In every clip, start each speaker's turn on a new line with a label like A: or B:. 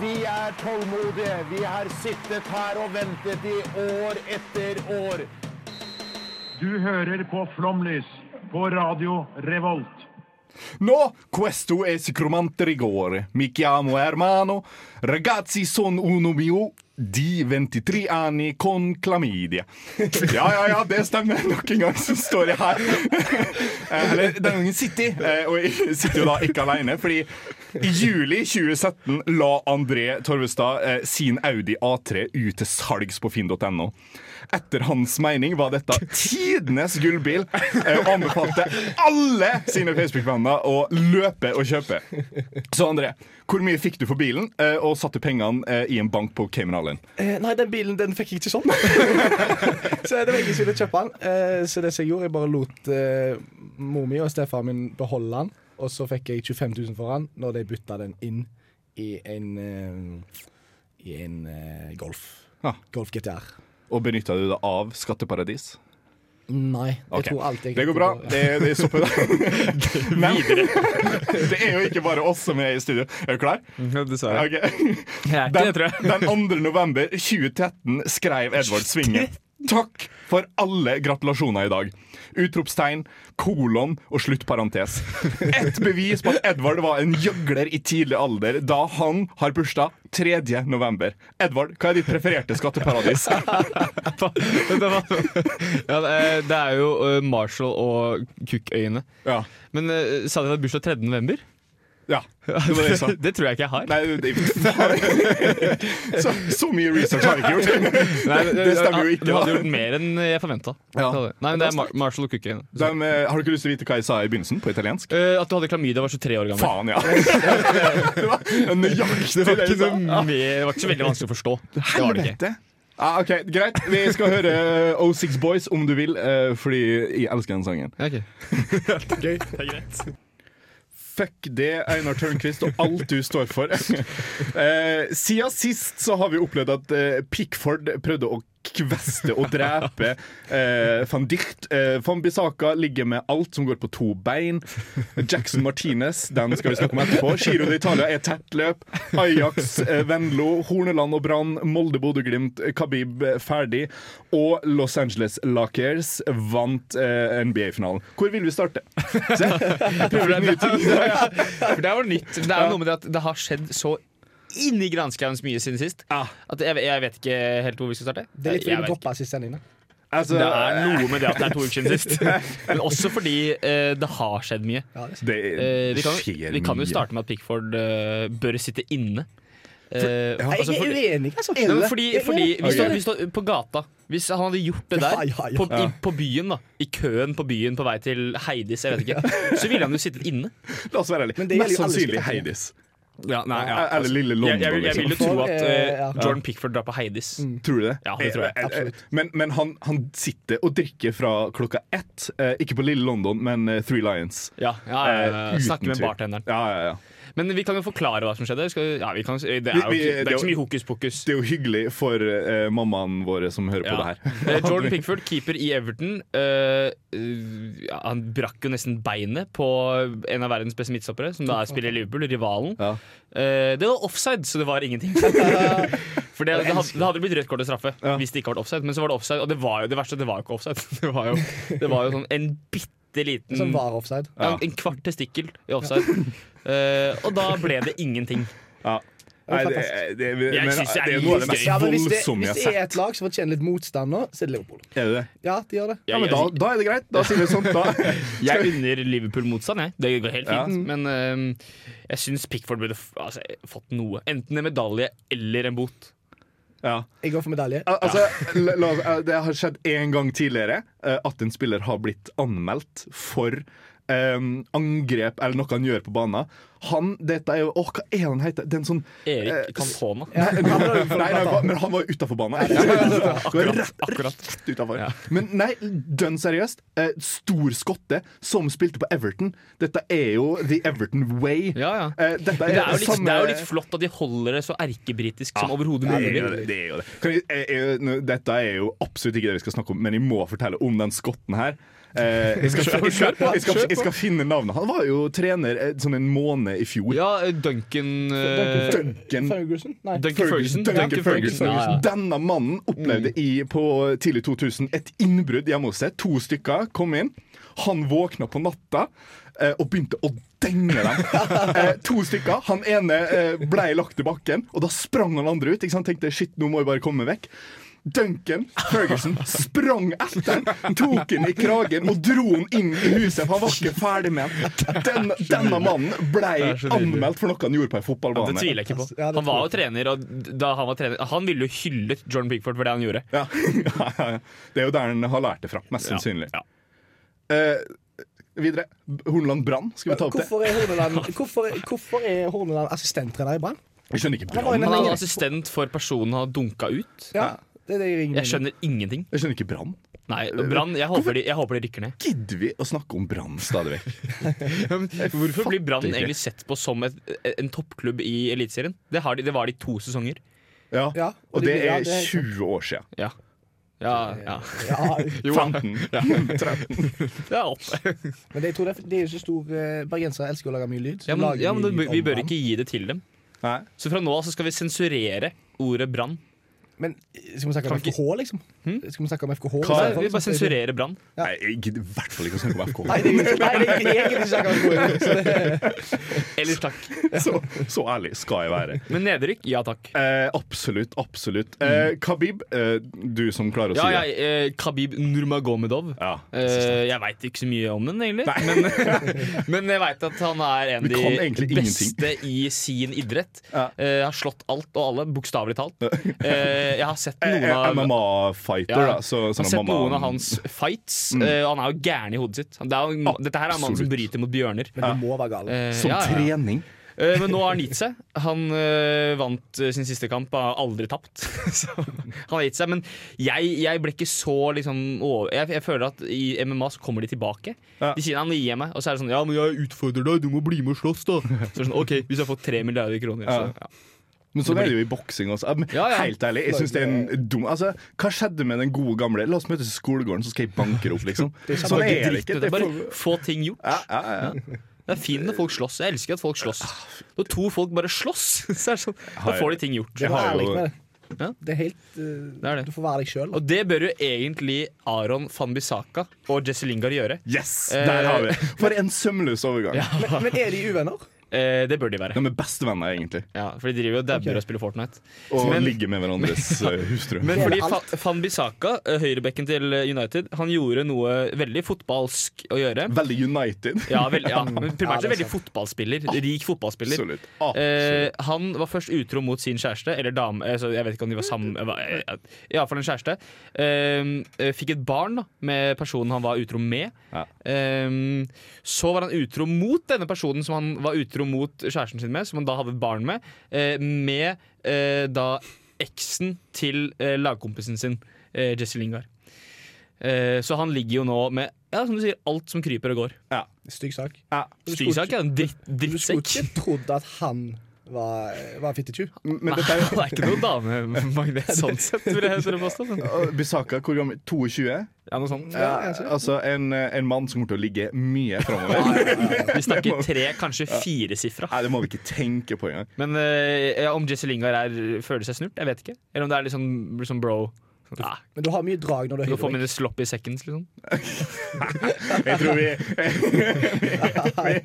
A: Vi er tålmodige. Vi har sittet her og ventet i år etter år.
B: Du hører på Flomlys på Radio Revolt.
C: No, questo è sicuramente rigore. Mi chiamo Ermano. Ragazzi, sono uno mio di 23 anni con klamydia. Ja, ja, ja, det stemmer. Nok en gang så står jeg her. Eh, Eller denne gangen sitter jeg. Eh, Og jeg sitter jo da ikke alene, fordi i juli 2017 la André Torvestad eh, sin Audi A3 ut til salgs på finn.no. Etter hans mening var dette tidenes gullbil, eh, og anbefalte alle sine Facebook-venner å løpe og kjøpe. Så André, hvor mye fikk du for bilen, eh, og satte pengene eh, i en bank på Cayman Island?
D: Eh, nei, den bilen den fikk jeg ikke sånn. så det var ingen som ville kjøpe den. Eh, så det som jeg gjorde, jeg bare lot eh, mor mi og stefaren min beholde den. Og så fikk jeg 25 000 for den når de bytta den inn i en eh, I en eh, Golf.
C: Ja.
D: Golf GTR.
C: Og benytta du det av skatteparadis?
D: Nei, jeg
C: Ok.
D: tror alt jeg
C: Det går bra. Det, det stopper der. Men det er jo ikke bare oss som er i studio. Er du klar?
E: Mm, Dessverre.
C: Ok.
E: Jeg er ikke det, tror jeg.
C: Den 2. november 2013 skrev Edvard Svinge. Takk for alle gratulasjoner i dag. Utropstegn, kolon og sluttparentes. Et bevis på at Edvard var en gjøgler i tidlig alder, da han har bursdag 3. november. Edvard, hva er ditt prefererte skatteparadis?
E: Det, var, ja, eh, det er jo eh, Marshall og Cookøyene.
C: Ja.
E: Men eh, sa du det var bursdag 3. november?
C: ja. Det var det jeg sa.
E: Det tror jeg ikke jeg har.
C: Nei, det, så, så mye research har jeg ikke gjort. det stemmer jo ikke,
E: Du
C: da.
E: eh, hadde gjort mer enn jeg forventa.
C: Ja.
E: Nei, men det er Mar Marshall og Cookøyene.
C: De, eh, har du ikke lyst til å vite hva jeg sa i begynnelsen på italiensk?
E: Eh, at du hadde klamydia var 23 år gammel.
C: Faen, ja! Det var nøyaktig det jeg sa.
E: Mer, det var ikke så veldig vanskelig å forstå. Det var det ikke.
C: Helvete! Ah, ok, Greit, vi skal høre eh, O6 Boys om du vil, eh, fordi jeg elsker den sangen.
E: Ja, ok.
D: Gøy.
C: Fuck det, Einar Tørnquist, og alt du står for. Eh, siden sist så har vi opplevd at eh, Pickford prøvde å kveste og drepe eh, van Dicht. Eh, van Bissaka ligger med alt som går på to bein. Jackson Martinez, den skal vi snakke om etterpå. Giro d'Italia er tett løp. Ajax, eh, Venlo, Horneland og Brann, Molde, Bodø-Glimt, Khabib eh, ferdig. Og Los Angeles Lakers vant eh, NBA-finalen. Hvor vil vi starte? Se, jeg prøver nye ting.
E: For det var nytt. Det er jo noe med det at det har skjedd så inni granskauen mye siden sist. At jeg, jeg vet ikke helt hvor vi skal starte.
D: Det er litt
E: Jeg
D: fordi du
E: vet
D: droppa siste sending. da.
C: Altså,
E: Det er noe med det at det er to uker siden sist. Men også fordi eh, det har skjedd mye.
D: Ja, det er sant.
C: Det
E: Eh, vi, kan,
C: skjer
E: vi kan jo
C: mye.
E: starte med at Pickford eh, bør sitte inne. Eh, altså,
D: jeg
E: for-
D: er uenig, altså.
E: Nei, men fordi, fordi hvis,
C: Ok.
E: du, hvis du, På gata. Hvis han hadde gjort det der,
D: Ja, ja, ja.
E: På, i, på byen, da i køen på byen på vei til Heidis, jeg vet ikke, så ville han jo sittet inne.
C: La oss være ærlige.
D: Men det gjelder
C: Mest
D: jo alle
C: sannsynlig
D: skatter.
C: Heidis.
E: nei,
C: Eller Lille altså, London, liksom.
E: jeg, jeg, vil- jeg vil jo tro at eh,
D: Ja. Mm.
E: Jordan Pickford drar på Heidis.
C: Tror du det?
E: Ja, det tror jeg.
C: Eh, eh, eh,
D: Absolutt.
C: Men, men han, han sitter og drikker fra klokka ett. Eh, ikke på Lille London, men eh, Three Lions.
E: Ja, ja, ja, ja,
C: Eh,
E: ja. Snakke
C: uten
E: med
C: tvil.
E: bartenderen.
C: Ja, ja, ja.
E: Men vi kan jo forklare hva som skjedde. Skal, ja, vi kan, det, er jo,
C: Vi- vi-
E: ikke- det er
C: det-
E: ikke så mye hokus pokus.
C: Det er jo hyggelig for eh, mammaene våre som hører på
E: Ja.
C: det her.
E: Eh, Jordan Pickford, keeper i Everton. eh, eh, ja, han brakk jo nesten beinet på en av verdens beste midtstoppere, som da er spiller i Liverpool, rivalen.
C: Ja.
E: Eh, det var offside, så det var ingenting. For det, det, hadde, det hadde blitt rødt kort og straffe hvis det ikke hadde vært offside. Men så var det offside, og det var jo det verste, det var jo ikke offside. Det var jo, det var jo sånn en bitte liten
D: Som var offside.
E: ja, en- en kvart testikkel i offside. Eh, og da ble det ingenting.
C: Ja. Nei, det,
D: fantastisk.
C: det, men,
E: Jeg synes
C: det
E: det er
C: er noe av det
E: litt
C: mest
D: Ja, men hvis det,
C: voldsomme
D: hvis
C: jeg
D: det
C: har
D: er
C: sett.
D: et lag som fortjener litt motstand nå, så er det Liverpool.
C: Er det det?
D: Ja, de gjør det.
C: Ja, men da, da er det greit. Da sier vi sånn. Da.
E: Jeg unner Liverpool motstand, jeg. Det går helt
C: Ja.
E: fint. Men øhm, jeg syns Pickford burde f altså, fått noe. Enten en medalje eller en bot.
C: Ja.
D: Jeg går for medalje.
C: Al altså, la, la, eh, det har skjedd én gang tidligere eh, at en spiller har blitt anmeldt for eh, angrep eller noe han gjør på banen. Han, dette er jo, åh, hva er han heter? Den sånn eh,
E: Erik Cantona.
C: Nei, nei, nei, ba- men han var jo utafor banen. Det var
E: Akkurat.
C: Rett,
E: akkurat.
C: rett utenfor. Men nei, dønn seriøst. Eh, stor skotte som spilte på Everton. Dette er jo the Everton way.
E: Ja, ja.
C: Eh, dette
E: Det er, jo litt,
C: samme-
E: det er jo litt flott at de holder det så erkebritisk som overhodet
C: det er
E: mulig.
C: jo det. det, er jo det. Kan jeg, jeg, jeg, nå, dette er jo absolutt ikke det vi skal snakke om, men jeg må fortelle om den skotten her. Eh, jeg, skal, jeg, skal, jeg, skal, jeg skal finne navnet. Han var jo trener eh, sånn en måned i fjor.
E: Ja, eh, Duncan eh,
C: Duncan
D: Ferguson? Nei.
E: Duncan Ferguson.
C: Duncan Ferguson.
E: Duncan Ferguson. Mm. Ja, ja.
C: Denne mannen opplevde i, på tidlig 2000 et innbrudd hjemme hos seg. To stykker kom inn. Han våkna på natta eh, og begynte å denge dem. eh, to stykker. Han ene eh, blei lagt i bakken, og da sprang han andre ut. Ikke sant? Tenkte shit, nå må jeg bare komme vekk. Duncan Ferguson sprang etter han, tok han i kragen og dro han inn i huset. for Han var ikke ferdig med han. Den, denne mannen blei
E: Det er så nydelig.
C: anmeldt for noe han gjorde på en fotballbane.
E: Det tviler jeg ikke på.
D: Ja, det
E: Han
D: tror
E: var jo
D: jeg
E: trener, og da han var trener Han ville jo hyllet Jordan Pickford for det han gjorde.
C: Ja. ja, ja, ja. Det er jo der han har lært det fra, mest
E: Ja.
C: sannsynlig.
E: Ja.
C: Eh, videre. Hornland Brann, skal vi ta opp det?
D: Hvorfor er Horneland, hvorfor, er- hvorfor er Horneland assistenttrener i Brann?
C: Jeg skjønner ikke
D: var
C: Brann.
D: inne-
E: Han er assistent for personen han dunka ut.
D: Ja, det er det jeg ringer
E: Jeg skjønner ingenting.
C: Jeg skjønner ikke Brann.
E: Nei, Brann, jeg, håper de- jeg håper de rykker ned.
C: Gidder vi å snakke om Brann stadig vekk? Eh,
E: Hvorfor blir Brann
C: ikke.
E: egentlig sett på som et, en toppklubb i Eliteserien? Det, har de- det var de to sesonger.
C: Ja.
D: Ja, og
C: Og det
D: det- ja,
C: er
D: det er helt
C: 20 år siden.
E: Ja. Ja, ja.
D: Ja,
C: 15. 13.
E: ja, opp.
D: men det, jeg tror det, er, det er jo så stor eh, Bergensere elsker å lage mye lyd. så
E: ja men,
D: lager
E: ja,
D: de
E: men
D: lyd
E: det,
D: om
E: vi bør
D: Brann.
E: ikke gi det til dem.
C: Nei.
E: Så fra nå av så skal vi sensurere ordet brann.
D: Men skal vi snakke om
E: Kan ikke-
D: FKH, liksom? Skal vi snakke om FKH?
C: Hva
E: Nei,
C: er
D: i
E: Vi bare
D: stedet for?
E: sensurerer brann.
C: Nei, jeg gidder i hvert fall ikke å snakke om FK.
D: liksom? Nei, det er ikke- nei, det er ikke- jeg gidder ikke snakke om FKH. så det-
E: Ellers takk.
C: Så, så ærlig skal jeg være.
E: Men nedrykk? Ja takk.
C: Eh, absolutt, absolutt. Eh, Khabib, eh, du som klarer å
E: Mm. Ja,
C: si det.
E: jeg, eh, Khabib Nurmagomedov.
C: Ja.
E: Eh, jeg veit ikke så mye om den, egentlig. Men, men jeg veit at han er en av
C: Du kan egentlig
E: de
C: ingenting.
E: beste i sin idrett.
C: Ja.
E: Eh, har slått alt og alle, bokstavelig talt. Eh, jeg har sett noen
C: Eh,
E: av
C: MMA-fighter,
E: Ja.
C: da. Så,
E: jeg har
C: sånn
E: sett
C: mamma-
E: noen av hans fights. Eh, og han er jo gæren i hodet sitt. Han- Det er jo, dette her er en mann som
C: Absolutt.
E: bryter mot bjørner.
D: Men du må være gal.
E: Eh,
C: Som
E: ja, ja.
C: trening.
E: Eh, Men nå har han gitt seg. Han eh, vant eh, sin siste kamp, har aldri tapt. så han har gitt seg. Men jeg, jeg ble ikke så liksom over jeg, jeg føler at i MMA så kommer de tilbake.
C: Ja.
E: De sier han vil gi meg, og så er det sånn Ja, men jeg utfordrer deg, du må bli med og slåss, da. Så er det sånn, OK, hvis jeg får tre milliarder kroner, så
C: Ja.
E: ja.
C: Men sånn er det jo i boksing også. Ja, men
E: Ja, ja.
C: Helt ærlig, jeg synes det er en dum Altså, Hva skjedde med den gode gamle La oss møtes i skolegården, så skal jeg banke det opp, liksom. Sånn er det ikke.
E: Det
C: Det
E: er
C: er
E: bare
C: for-
E: få ting gjort.
C: ja, ja, ja.
E: Det er fint når folk slåss. Jeg elsker at folk slåss. Når to folk bare slåss, så er det sånn, da
C: Har-
E: får de ting gjort.
D: Du
C: Jeg
D: må være
C: har
D: ærlig
C: jo
D: med det.
E: Ja.
D: Det er helt eh,
E: er det.
D: Du får være deg sjøl.
E: Og det bør jo egentlig Aron Fanbisaka og Jesse Lingard gjøre.
C: Yes!
E: Eh,
C: Der har vi det. For en sømløs overgang.
D: Men, men er de uvenner?
E: Eh, det bør de være.
C: De er bestevenner, egentlig,
E: Ja, For de driver jo og dabber og spiller Fortnite.
C: og
E: Men-
C: ligger med hverandres eh, hustru.
D: Det
E: Men
D: er
E: fordi
D: det alt.
E: Fa- Van Bissaka, eh, høyrebekken til eh, United, han gjorde noe veldig fotballsk å gjøre.
C: Veldig United.
E: Ja, vel, ja. men
D: Ja,
E: Primært
D: det
E: så
D: er
E: veldig fotballspiller. Rik fotballspiller.
C: Absolutt. Absolutt.
E: Eh, han var først utro mot sin kjæreste, eller dame eh, så Jeg vet ikke om de var sammen
C: Mm.
E: eh, hva- eh, Iallfall en kjæreste. Eh, eh, fikk et barn da, med personen han var utro med.
C: Ja.
E: Eh, så var han utro mot denne personen som han var utro mot kjæresten sin med, som han da hadde et barn med, eh, med eh, da eksen til eh, lagkompisen sin, eh, Jesse Lingard. Eh, så han ligger jo nå med ja, som du sier, alt som kryper og går.
D: Stygg sak.
C: Ja.
E: Stygsak er en dritt,
D: Du skulle
E: drittsekk.
D: ikke trodd at han var, eh, var fittetjuv.
C: Men dette
E: Nei,
C: er
E: han er ikke noe damemagnet sånn sett, vil jeg tørre å påstå. Men.
C: jo Bisaka, hvor gammel? 22?
E: Ja, noe sånt.
C: Ja, altså en, en mann som kommer til å ligge mye framover.
E: Vi snakker tre, kanskje firesifra.
C: Nei, det må vi ikke tenke på engang.
E: Men eh, ja, om Jesse Lingard er, føler seg snurt, jeg vet ikke. Eller om det er litt sånn, litt sånn bro. Sånn, ah,
D: Men du har mye drag når du er
E: nå får
D: høyrebekk.
E: mine sloppy seconds, liksom.
C: Jeg tror vi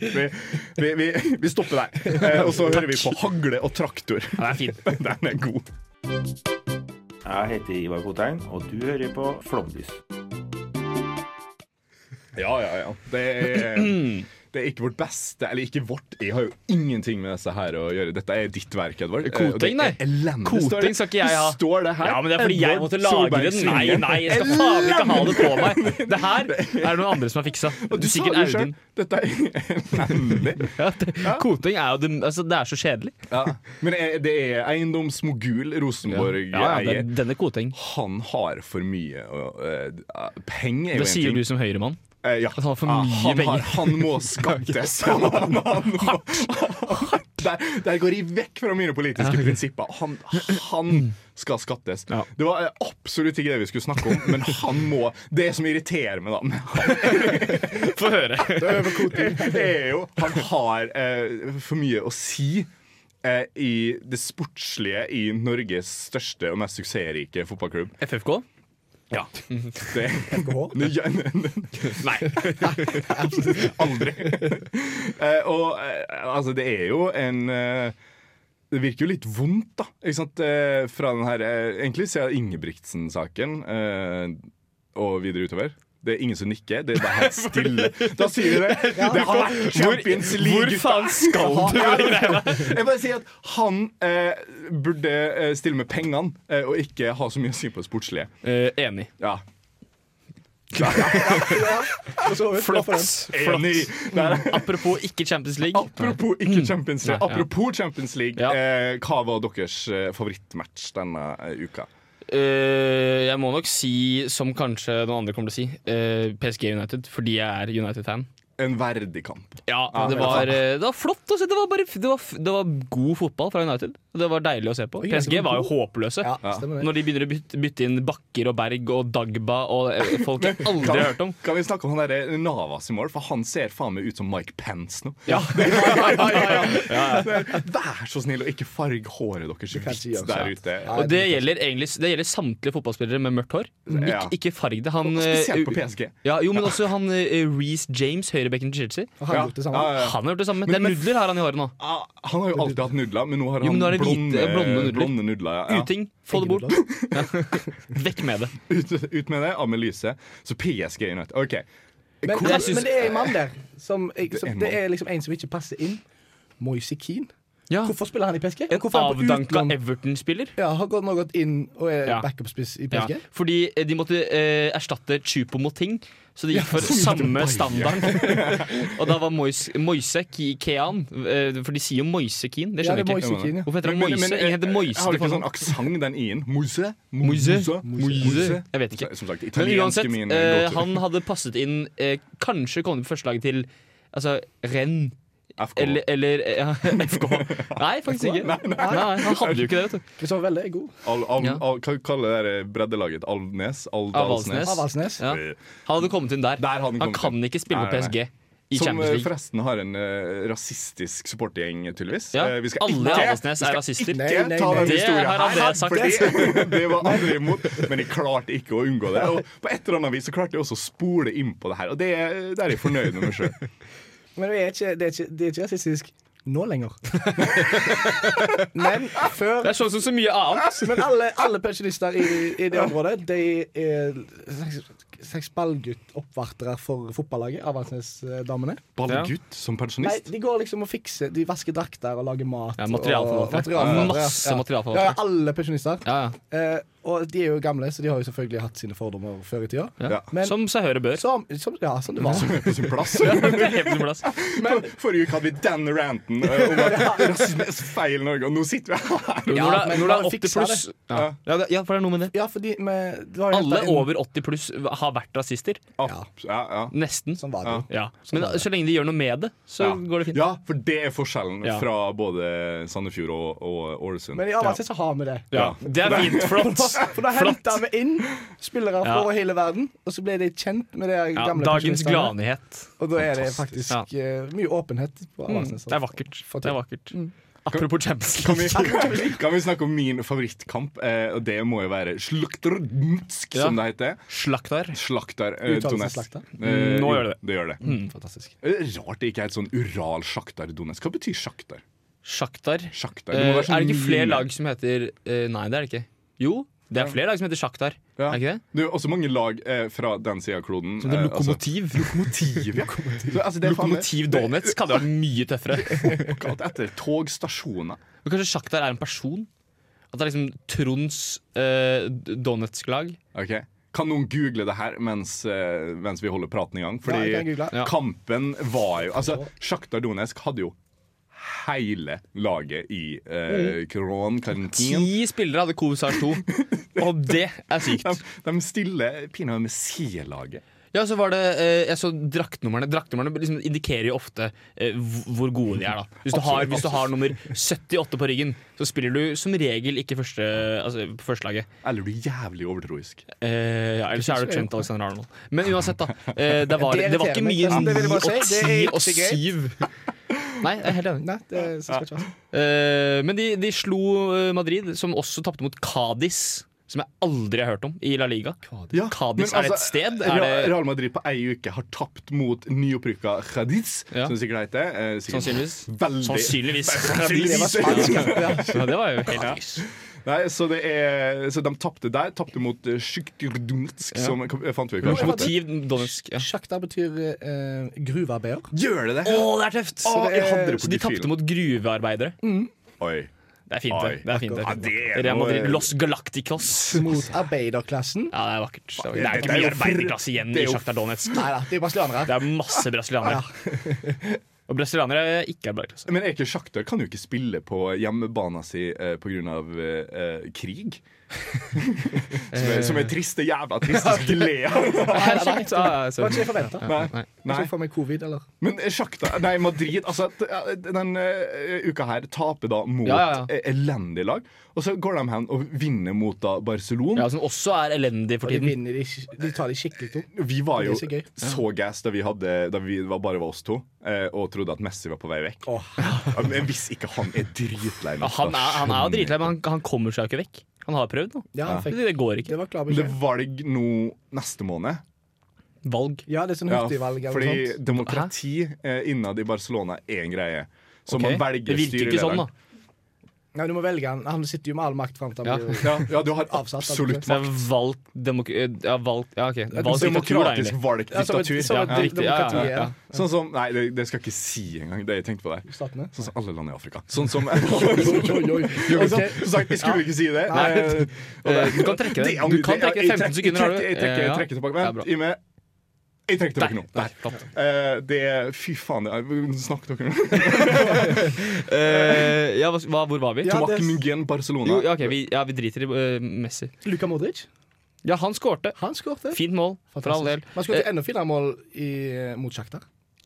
C: Vi, vi, vi, vi stopper der. Eh, Og så hører vi på hagle og traktor.
E: Ja, det er fint.
C: Den er god.
F: Jeg heter Ivar Kotein, og du hører på Flomlys.
C: Ja, ja, ja. Det er, Det er ikke vårt beste, eller ikke vårt. Jeg har jo ingenting med disse her å gjøre. Dette er ditt verk, Edvard. Eh, og det
E: Koting, nei.
C: er Elendig, står det.
E: Koting skal ikke jeg ha.
C: Det Står det her?
E: Ja, men det er fordi jeg
C: Edvard
E: måtte lagre
C: Solberg
E: den. Nei,
C: Svingen.
E: nei, jeg skal faen ikke ha det på meg. Det her er det noen andre som har fiksa.
C: Og du sa
E: Sikkert
C: det jo
E: Audun.
C: selv. Dette er elendig.
E: Ja, det, koting er jo det, altså, det er så kjedelig.
C: Ja. Men er- det er eiendomsmogul Rosenborg
E: Ja, ja,
C: eier.
E: den, denne koting.
C: Han har for mye og, eh, Penger er jo
E: Det
C: en
E: sier
C: ting.
E: du som høyremann.
C: Eh, ja.
E: han har for
C: Ah,
E: mye
C: han
E: penger.
C: han må skattes. Han, han, må, der, der går de vekk fra mine politiske prinsipper. Han, han skal skattes.
E: Ja.
C: Det var eh, absolutt ikke det vi skulle snakke om, men han må Det som irriterer meg, da med han,
E: Få høre.
C: det er jo Han har eh, for mye å si. eh, I det sportslige i Norges største og mest suksessrike fotballklubb.
E: FFK?
C: Ja. Det,
D: FKH?
C: Nei, ja, ne- ne-
E: Nei.
C: Aldri. Eh, og eh, altså, det er jo en eh, Det virker jo litt vondt, da. Ikke sant? Eh, fra den her eh, Egentlig siden Ingebrigtsen-saken eh, og videre utover. Det er ingen som nikker. Det er bare helt stille. Da sier vi det. Det har vært Champions
E: Hvor
C: League-gutta.
E: faen skal du
C: Ja,
E: med de greiene?
C: Jeg bare sier at han eh, burde eh, stille med pengene, eh, og ikke ha så mye å si på det sportslige.
E: Eh, enig.
C: Ja.
D: For så vidt, glad for den.
C: Enig. Der,
E: Apropos ikke Champions League.
C: Apropos ikke Champions League,
E: Nei, ja.
C: apropos Champions League
E: Ja.
C: eh, hva var deres eh, favorittmatch denne eh, uka?
E: Eh, jeg må nok si, som kanskje noen andre kommer til å si, eh, PSG United, fordi jeg er United-fan.
C: En verdig kamp.
E: Ja,
C: Ja,
E: det,
C: ja.
E: var, eh, det var flott å se. Det var, bare, det, var, det var god fotball fra United. Det var deilig å se på.
D: Oi, United
E: PSG
D: var
E: var jo håpløse.
D: Ja, stemmer det.
E: Når de begynner å bytte, bytte inn Bakker og Berg og Dagba og eh, folk jeg aldri har hørt om.
C: Kan vi snakke om han der Navas i mål? For han ser faen meg ut som Mike Pence nå.
E: Ja.
C: Vær så snill og ikke farg håret deres
D: kan si
C: hvitt
D: også,
C: der
D: ja.
C: ute.
D: Nei,
E: Og det gjelder, egentlig, det gjelder samtlige fotballspillere med mørkt hår.
C: Ja.
E: Ikke, ikke farg det. Han, eh,
C: Spesielt på PSG.
E: ja, jo, men også han eh, Reece James, høyrebekken til Chelsea.
D: Og han har gjort det samme.
C: Ja, ja, ja.
E: Han har gjort det samme. Det er
C: men-
E: nudler har han i håret nå.
C: Ah, han har jo alltid hatt nudler, men nå har
E: Jo,
C: han
E: men nå er det
C: blonde,
E: hvite, blonde nudler.
C: blonde nudler. Ja.
E: Uting, få det bort. Vekk med det.
C: Ut, ut med det, av med lyset. Så PSG United. OK.
D: Men,
C: Hvor-
E: jeg synes-
D: men det er en mann der. Som, jeg,
C: er
D: som,
C: en
D: det
C: mann.
D: er liksom en som ikke passer inn. Moise Keane.
E: Ja.
D: Hvorfor spiller han i PSG?
E: En
D: Hvorfor er han på
E: avdanka
D: utlån?
E: Everton-spiller.
D: Ja, har gått, nå gått inn og er
E: Ja.
D: backup-spiss i
E: Ja,
D: PSG.
E: fordi eh, de måtte eh, erstatte Chupo mot ting, så de gikk for samme standard. og da var Moise, Moise Ki- Kean eh, For de sier jo Moise Keen. Det
D: Ja, det er
E: skjønner jeg ikke.
D: Moise Keane, ja.
E: Hvorfor heter han Moise? Ingen heter Moise.
C: Jeg har
E: til
C: ikke
E: fornavn.
C: sånn aksent, den i-en. Moise.
E: Moise.
C: Moise.
E: Moise. Jeg vet ikke.
C: Som sagt,
E: Men
C: italiensk
E: uansett,
C: er min
E: eh,
C: go-to.
E: han hadde passet inn eh, Kanskje kommet på førstelaget til altså, Renn.
C: FK.
E: Eller, eller eh, ja, FK. Nei, faktisk ikke. Nei, Han hadde jo ikke det. vet du
D: Kristoffer Welle er god.
C: Al, al,
E: Ja.
C: al, hva kaller det der breddelaget? Alvnes?
E: Avaldsnes.
C: Aldalsnes? Eh,
D: Avaldsnes.
E: ja. Han hadde kommet inn der.
C: Der hadde han
E: han
C: kommet
E: kan
C: inn.
E: ikke spille
C: Nei,
E: på
C: nei,
E: PSG i
C: Som
E: Champions
C: eh,
E: League.
C: forresten har en eh, rasistisk supportergjeng, tydeligvis.
E: Ja,
C: Eh, vi skal
E: alle
C: ikke- vi
E: Avaldsnes er
C: skal
E: rasister.
C: Ikke
D: Nei, nei,
C: ta
D: nei.
C: den
E: Det
C: historien
E: har
C: her,
E: Andreas sagt.
C: Fordi det var andre imot, men de klarte ikke å unngå det. Og på et eller annet vis så klarte de også å spole inn på det her, og det, det er jeg fornøyd med meg sjøl.
D: Men det er ikke, det er ikke, det er ikke rasistisk nå lenger. Men før
E: Det er sånn som så mye annet.
C: altså.
D: Men alle, alle pensjonister i, i det området De er slags, slags ballguttoppvartere for fotballaget, Avaldsnes-damene.
C: Ballgutt som
D: Nei,
C: pensjonist?
D: de går liksom og fikser De vasker drakter og lager mat.
E: Ja,
D: og-
E: materialforvaltere.
D: materialforvaltere, ja.
E: Masse
D: Ja.
E: materialforvaltere.
D: Ja, alle pensjonister.
E: Ja, ja.
D: Eh, og de er jo gamle, så de har jo selvfølgelig hatt sine fordommer før i tida.
C: Ja.
D: Men som,
E: Som seg høre bør.
D: som, Ja, som det var.
C: På sin plass?
E: Det er helt på sin plass.
C: For- Forrige uke hadde vi den ranten eh, om at rasisme er feil Norge, og nå sitter vi her.
D: Ja,
E: når
D: men
E: det, er- når det
D: bare
E: er 80
D: fikser
E: pluss ja. Ja, det- ja, for det er noe med det.
D: Ja, fordi vi det var jo
E: Alle
D: hentet inn-
E: over 80 pluss har vært rasister.
C: Ja, ja, ja.
E: Nesten.
D: Sånn var det jo.
E: Ja. Men så lenge de gjør noe med det, så
C: Ja.
E: går det fint.
C: ja, for det er forskjellen
E: Ja.
C: fra både Sandefjord og, og Ålesund.
D: Men i Avaldsnes så har vi det.
E: Ja. Det er fint. Flott.
D: For da henta vi inn spillere fra
E: Ja.
D: over hele verden, og så ble de kjent med de
E: Ja,
D: gamle
E: dagens
D: pensjonistene.
E: gladnyhet.
D: Og da er det
C: Fantastisk.
D: faktisk eh, mye åpenhet. på Avaldsnes.
E: Mm, Det er vakkert.
D: Få
E: Det
D: til.
E: er vakkert. Apropos Champions
C: Kan vi,
E: League.
C: kan vi snakke om min favorittkamp? Eh, og det må jo være Slukterdnsk,
E: Ja.
C: som det heter.
E: Slaktar.
C: Slaktar eh,
D: Uttales det
C: Donetsk.
D: Slaktar?
C: Eh,
E: Mm, Nå
C: jo,
E: gjør det det.
C: det. gjør det.
D: Mm, Fantastisk.
C: Eh, Rart det ikke er et sånn Ural Sjaktar Donetsk. Hva betyr sjaktar?
E: Sjaktar.
C: Sjaktar.
E: Eh,
C: må
E: er
C: være sånn
E: det ikke flere
C: mine-
E: lag som heter eh, Nei, det er det ikke. Jo, Det er flere lag som heter sjakk der.
C: Ja.
E: Er ikke det?
C: Det er jo også mange lag eh, fra den sida av kloden.
E: Som det
C: eh,
E: er
C: altså-
E: lokomotiv.
C: Lokomotiv, ja. Så, altså, det er faen meg-
E: Lokomotiv Donetsk hadde vært mye tøffere.
C: Kalt etter togstasjoner.
E: Men kanskje sjakk der er en person? At det er liksom Tronds eh, Donetsk-lag?
C: Ok. Kan noen google det her mens, eh, mens vi holder praten i gang?
D: Ja,
C: Fordi
D: jeg kan google.
E: Ja.
C: kampen var jo Altså, Sjakta Donetsk hadde jo hele laget i
D: Mm.
C: eh, Kronkantin.
E: Ti spillere hadde Kovsar 2, og det er sykt.
C: De, de stiller pinadø med C-laget.
E: Ja, så var det eh, Jeg så draktnumrene. Draktnumrene liksom indikerer jo ofte eh, hvor- hvor gode de er, da. Hvis du, har, hvis du har nummer 78 på ryggen, så spiller du som regel ikke første, altså, på førstelaget.
C: Eller du er jævlig overtroisk.
E: Eh, ja, Eller så er det Trent Alexander Arnold. Men uansett, da. eh, det, var,
D: Det
E: det var ikke
D: irriterer meg.
E: mye
D: Ja, det vil jeg
E: ni
D: bare
E: og
D: si. Det er
E: ti og
D: ikke greit.
E: syv. Nei, jeg er helt enig.
D: Nei, det skal ikke være
E: Eh, men de, de slo eh, Madrid, som også tapte mot Cádiz. Som jeg aldri har hørt om i La Liga.
C: Ja,
E: Cádiz,
C: men
E: er det et
C: altså,
E: sted?
C: Real-
E: Er det,
C: Real Madrid på ei uke har tapt mot nyopprykka Khadiz,
E: Ja.
C: som det sikkert heter. Eh, sikkert
E: sannsynligvis.
C: Veldig.
E: Sannsynligvis.
C: Sannsynligvis.
E: Ja, det var jo helt nys.
C: Nei, så, det er, så de tapte der. Tapte mot eh, Sjukhtyr Donetsk, som eh, fant vi kanskje.
E: Lokomotiv Donetsk. Ja.
D: Sjakta betyr eh, gruvearbeider.
C: Gjør det det?
E: Å, det er tøft! Så,
C: Å, jeg hadde det på
E: de
C: gefühlen.
E: tapte mot gruvearbeidere.
C: Oi.
E: Det er fint, det.
C: Oi.
E: det, er fint, det.
C: Ja,
E: er fint,
C: det er
E: Real
C: noe-
E: Madrid Los Galacticos.
D: Mot arbeiderklassen.
E: Ja, det er vakkert. Det er, jo
C: Dette er
E: ikke
C: jo
E: mye
C: fr-
E: arbeiderklasse igjen
C: det
E: i
C: er jo
E: Sjakta Donetsk.
D: Nei da, det er brasilianere.
E: Det er masse brasilianere. Og brasilianere er ikke arbeiderklasse.
C: Men er ikke Sjaktar kan jo ikke spille på hjemmebana si eh, pga. Eh, krig. som, er, som er triste, jævla triste. Jeg Skal le av.
E: Er det sant?
D: Det
E: Ja, ja,
D: var ikke det jeg
E: sorry.
D: forventa.
C: Nei. Nei.
D: Jeg så for meg covid, eller?
C: Men Sjakta Nei, Madrid. Altså, t- den eh, uka her taper da mot
E: Ja, ja, ja.
C: eh, elendig lag. Og så går de hen og vinner mot da Barcelona.
E: Ja, som også er elendig for
D: De,
E: tiden.
D: vinner, de, ikke- de tar de skikkelig to.
C: Vi var jo
D: Det er så gøy.
C: så gass da vi, hadde, da vi var bare var oss to eh, og trodde at Messi var på vei vekk. Ja, men Hvis ikke han er dritlei
E: Ja, han er, han er jo dritlei, men han, han kommer seg jo ikke vekk. Han har prøvd nå.
D: Ja, han fikk,
E: Det går ikke.
D: det var klar
C: Men Det er
D: beskjed.
C: valg nå neste måned.
E: Valg.
D: Ja, det er sånn
C: Ja,
D: hurtigvalg eller
C: fordi
D: noe sånt.
C: demokrati eh, innad i Barcelona er en greie. Så
E: Ok.
C: man velger
E: det virker ikke sånn, da.
D: Nei, du må velge han. Han sitter jo med all makt fram til
E: Ja.
D: han blir
C: Ja, ja, du har
D: Avsatt,
C: absolutt
E: Det er valgt demok... Ja, valgt Ja, OK. Valgt diktatur, da,
C: Demokratisk
E: egentlig.
C: valgt
D: Ja, som et-
C: diktatur.
D: som et
C: Ja,
E: riktig. Ja, ja,
D: demokrati,
E: ja.
D: ja.
C: Sånn som Nei, det, det skal jeg ikke si engang. Det jeg tenkte på der.
D: statene.
C: Sånn som alle land i Afrika. Sånn som Og
D: Altså,
C: så- Som sagt, jeg skulle ikke si det.
E: Nei.
C: Eh, og
E: Eh, du kan trekke det.
C: angrer-
E: Du kan trekke
C: jeg- jeg
E: 15 sekunder, har du. Eh,
C: Jeg trekker, jeg trekker, jeg
E: Ja.
C: trekker tilbake.
E: Ja, bra.
C: Vent, gi meg Jeg trekker tilbake
E: Der.
C: nå.
E: Der. Flott.
C: Eh, det Fy faen, det er, snakk dere nå.
E: Eh, ja, hva- hva, hvor var vi?
D: Ja,
C: Tomak
D: det-
C: Mungen, Barcelona.
E: Jo, ja, ok, vi, ja, vi driter i eh, Messi.
D: Luka Modric,
E: Ja, han skårte.
D: han skårte.
E: Fint mål, for all del. Eh.
D: Fantastisk. Man skåret enda finere mål i, eh, mot Shakhtar.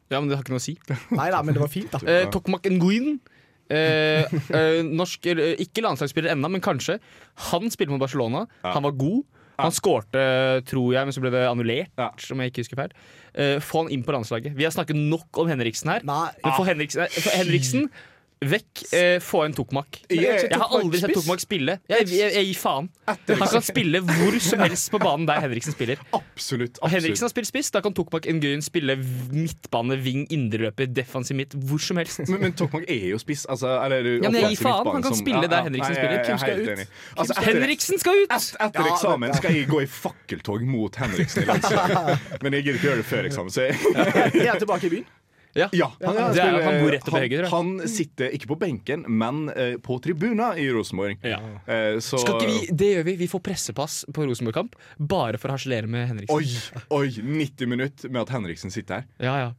E: Ja, men det har ikke noe å si.
D: Nei da, men det var fint, da.
E: Eh, Tokmak Nguyen. Eh, eh, norsk, eller, ikke landslagsspiller ennå, men kanskje. Han spilte mot Barcelona. Han var god. Han skårte, tror jeg, men så ble det annullert.
C: Ja.
E: Om jeg ikke husker feil eh, Få han inn på landslaget. Vi har snakket nok om Henriksen her.
D: Nei.
E: Men få Henriksen, nei, få Henriksen vekk. Eh, få inn Tokmak.
D: Men er ikke
E: Jeg har
D: Tokmak
E: aldri sett
D: spiss?
E: Tokmak spille. Jeg, jeg, jeg gir faen. Han kan spille hvor som helst på banen der Henriksen spiller.
C: Absolutt.
E: Og
C: absolutt.
E: Henriksen har spilt spiss. Da kan Tokmak Nguyen spille v- midtbane, ving, indreløper, defensiv midt, hvor som helst.
C: Men, men Tokmak er jo spiss. Altså, eller,
E: Ja, men jeg gir
C: offensiv
E: faen, han
C: midtbane
E: kan
C: som-
E: spille der Henriksen
C: nei, jeg
E: spiller.
C: er
E: Hvem skal
C: helt
E: ut?
C: enig. Altså, etter,
E: Henriksen skal ut!
C: Etter eksamen skal jeg gå i fakkeltog mot Henriksen. i landslaget. Men jeg gidder ikke gjøre det før eksamen. Så jeg,
D: Er han tilbake i byen?
E: Ja.
C: Ja,
E: han, det er, han bor rett oppe i
C: han-
E: høyre, tror jeg.
C: Han sitter ikke på benken, men eh, på tribuna i Rosenborg.
E: Ja.
C: Eh, så
E: Skal ikke vi, det gjør vi. Vi får pressepass på Rosenborg-kamp bare for å harselere med Henriksen.
C: Oi, oi, 90 minutter med at Henriksen sitter her.
E: Ja, ja.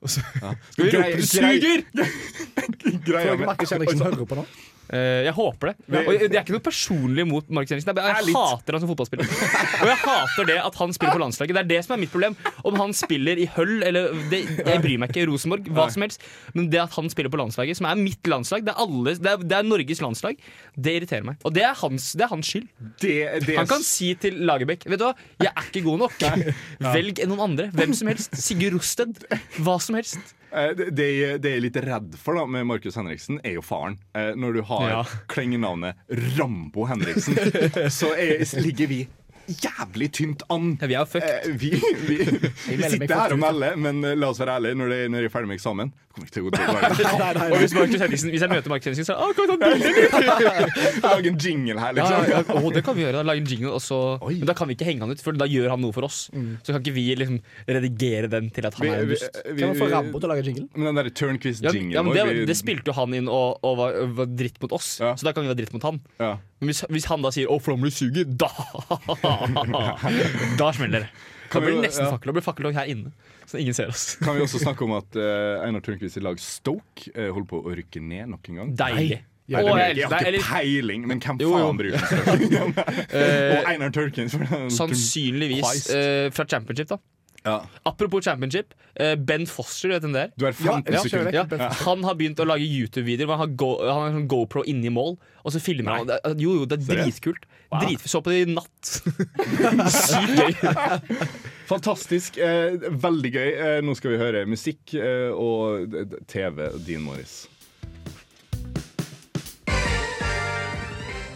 E: Og så skal vi rope 'suger'!
C: Greia
D: Tror
C: med-
D: jeg Markus Henriksen hører på nå.
E: Eh, jeg håper det. Og jeg- det er ikke noe personlig mot Markus Henriksen. Jeg, jeg
C: litt.
E: hater han som fotballspiller. Og jeg hater det at han spiller på landslaget. Det er det som er mitt problem. Om han spiller i Høll eller det, Jeg bryr meg ikke. Rosenborg, hva som helst. Men det at han spiller på landslaget, som er mitt landslag, det er, alle, det er, det er Norges landslag, det irriterer meg. Og det er hans, det er hans skyld.
C: det, det,
E: Han kan si til Lagerbäck Vet du hva, jeg er ikke god nok. Velg noen andre. Hvem som helst. Sigurd Rosted. Hva som helst.
C: eh, det, det jeg- det jeg er litt redd for da med Markus Henriksen, er jo faren. Eh, når du har
E: Ja.
C: klengenavnet Rambo Henriksen, så er, ligger vi jævlig tynt an.
E: Ja, vi er fucked.
C: Eh, vi, vi, vi
D: melder meg
C: sitter her
D: fort
C: og
D: ut, ja.
C: melder, men eh, la oss være ærlige når, det, når jeg er ferdig med eksamen. Kommer ikke til å gå til å være-
E: Og hvis, Markus Henriksen, hvis jeg møter Markus Henriksen, så er det, «Å, kan jeg ta et bilde?»
C: Lage en jingle her,
E: ja,
C: liksom.
E: ja, ja. Å, det kan vi gjøre. da. Lage en jingle, og så Men da kan vi ikke henge han ut, for da gjør han noe for oss. Så kan ikke vi liksom redigere den til at
C: Mm. Vi-
E: han er en
C: vi-
E: dust.
C: vi-
D: Kan man få
C: vi-
D: Rambo til å lage jingle?
C: Men den derre
E: Ja,
C: Turnquist-jingen
E: ja, men
C: vår,
E: det,
C: vi-
E: det spilte jo han inn og, og var, var dritt mot oss,
C: Ja.
E: så da kan vi være dritt mot han.
C: ja.
E: Men hvis, hvis han da sier 'Å, Flåmly suger', da Da smeller det. Da
C: Kan vi
E: blir
C: jo-
E: det nesten
C: ja.
E: fakkeltog. Det blir fakkeltog her inne, så ingen ser oss.
C: Kan vi også snakke om at eh, Einar Tørnquist i lag Stoke eh, holder på å rykke ned nok en gang?
E: Deilig.
C: Nei, det
E: Å,
C: blir- jeg
E: jeg elsker
C: har
E: deg.
C: ikke
E: Eller
C: peiling, men hvem
E: Jo, jo.
C: faen bryr seg? Og Einar Tørnquist. for den-
E: eh, Sånn sannsynligvis
C: Christ.
E: eh, fra championship, da.
C: Ja.
E: Apropos championship. eh, ben Foster, du vet den der?
C: Du er 15
D: Ja, ja,
C: sekunder.
D: kjør
E: Ja, han har begynt å lage YouTube-videoer hvor han har, go han har sånn GoPro inni mål. Og så filmer han. Det er- Jo, jo, det er
C: Seriøst?
E: dritkult. Drit, så på det i natt. Sykt gøy.
C: Fantastisk. Eh, veldig gøy. Eh, nå skal vi høre musikk eh, og d- d- TV. Dean Morris.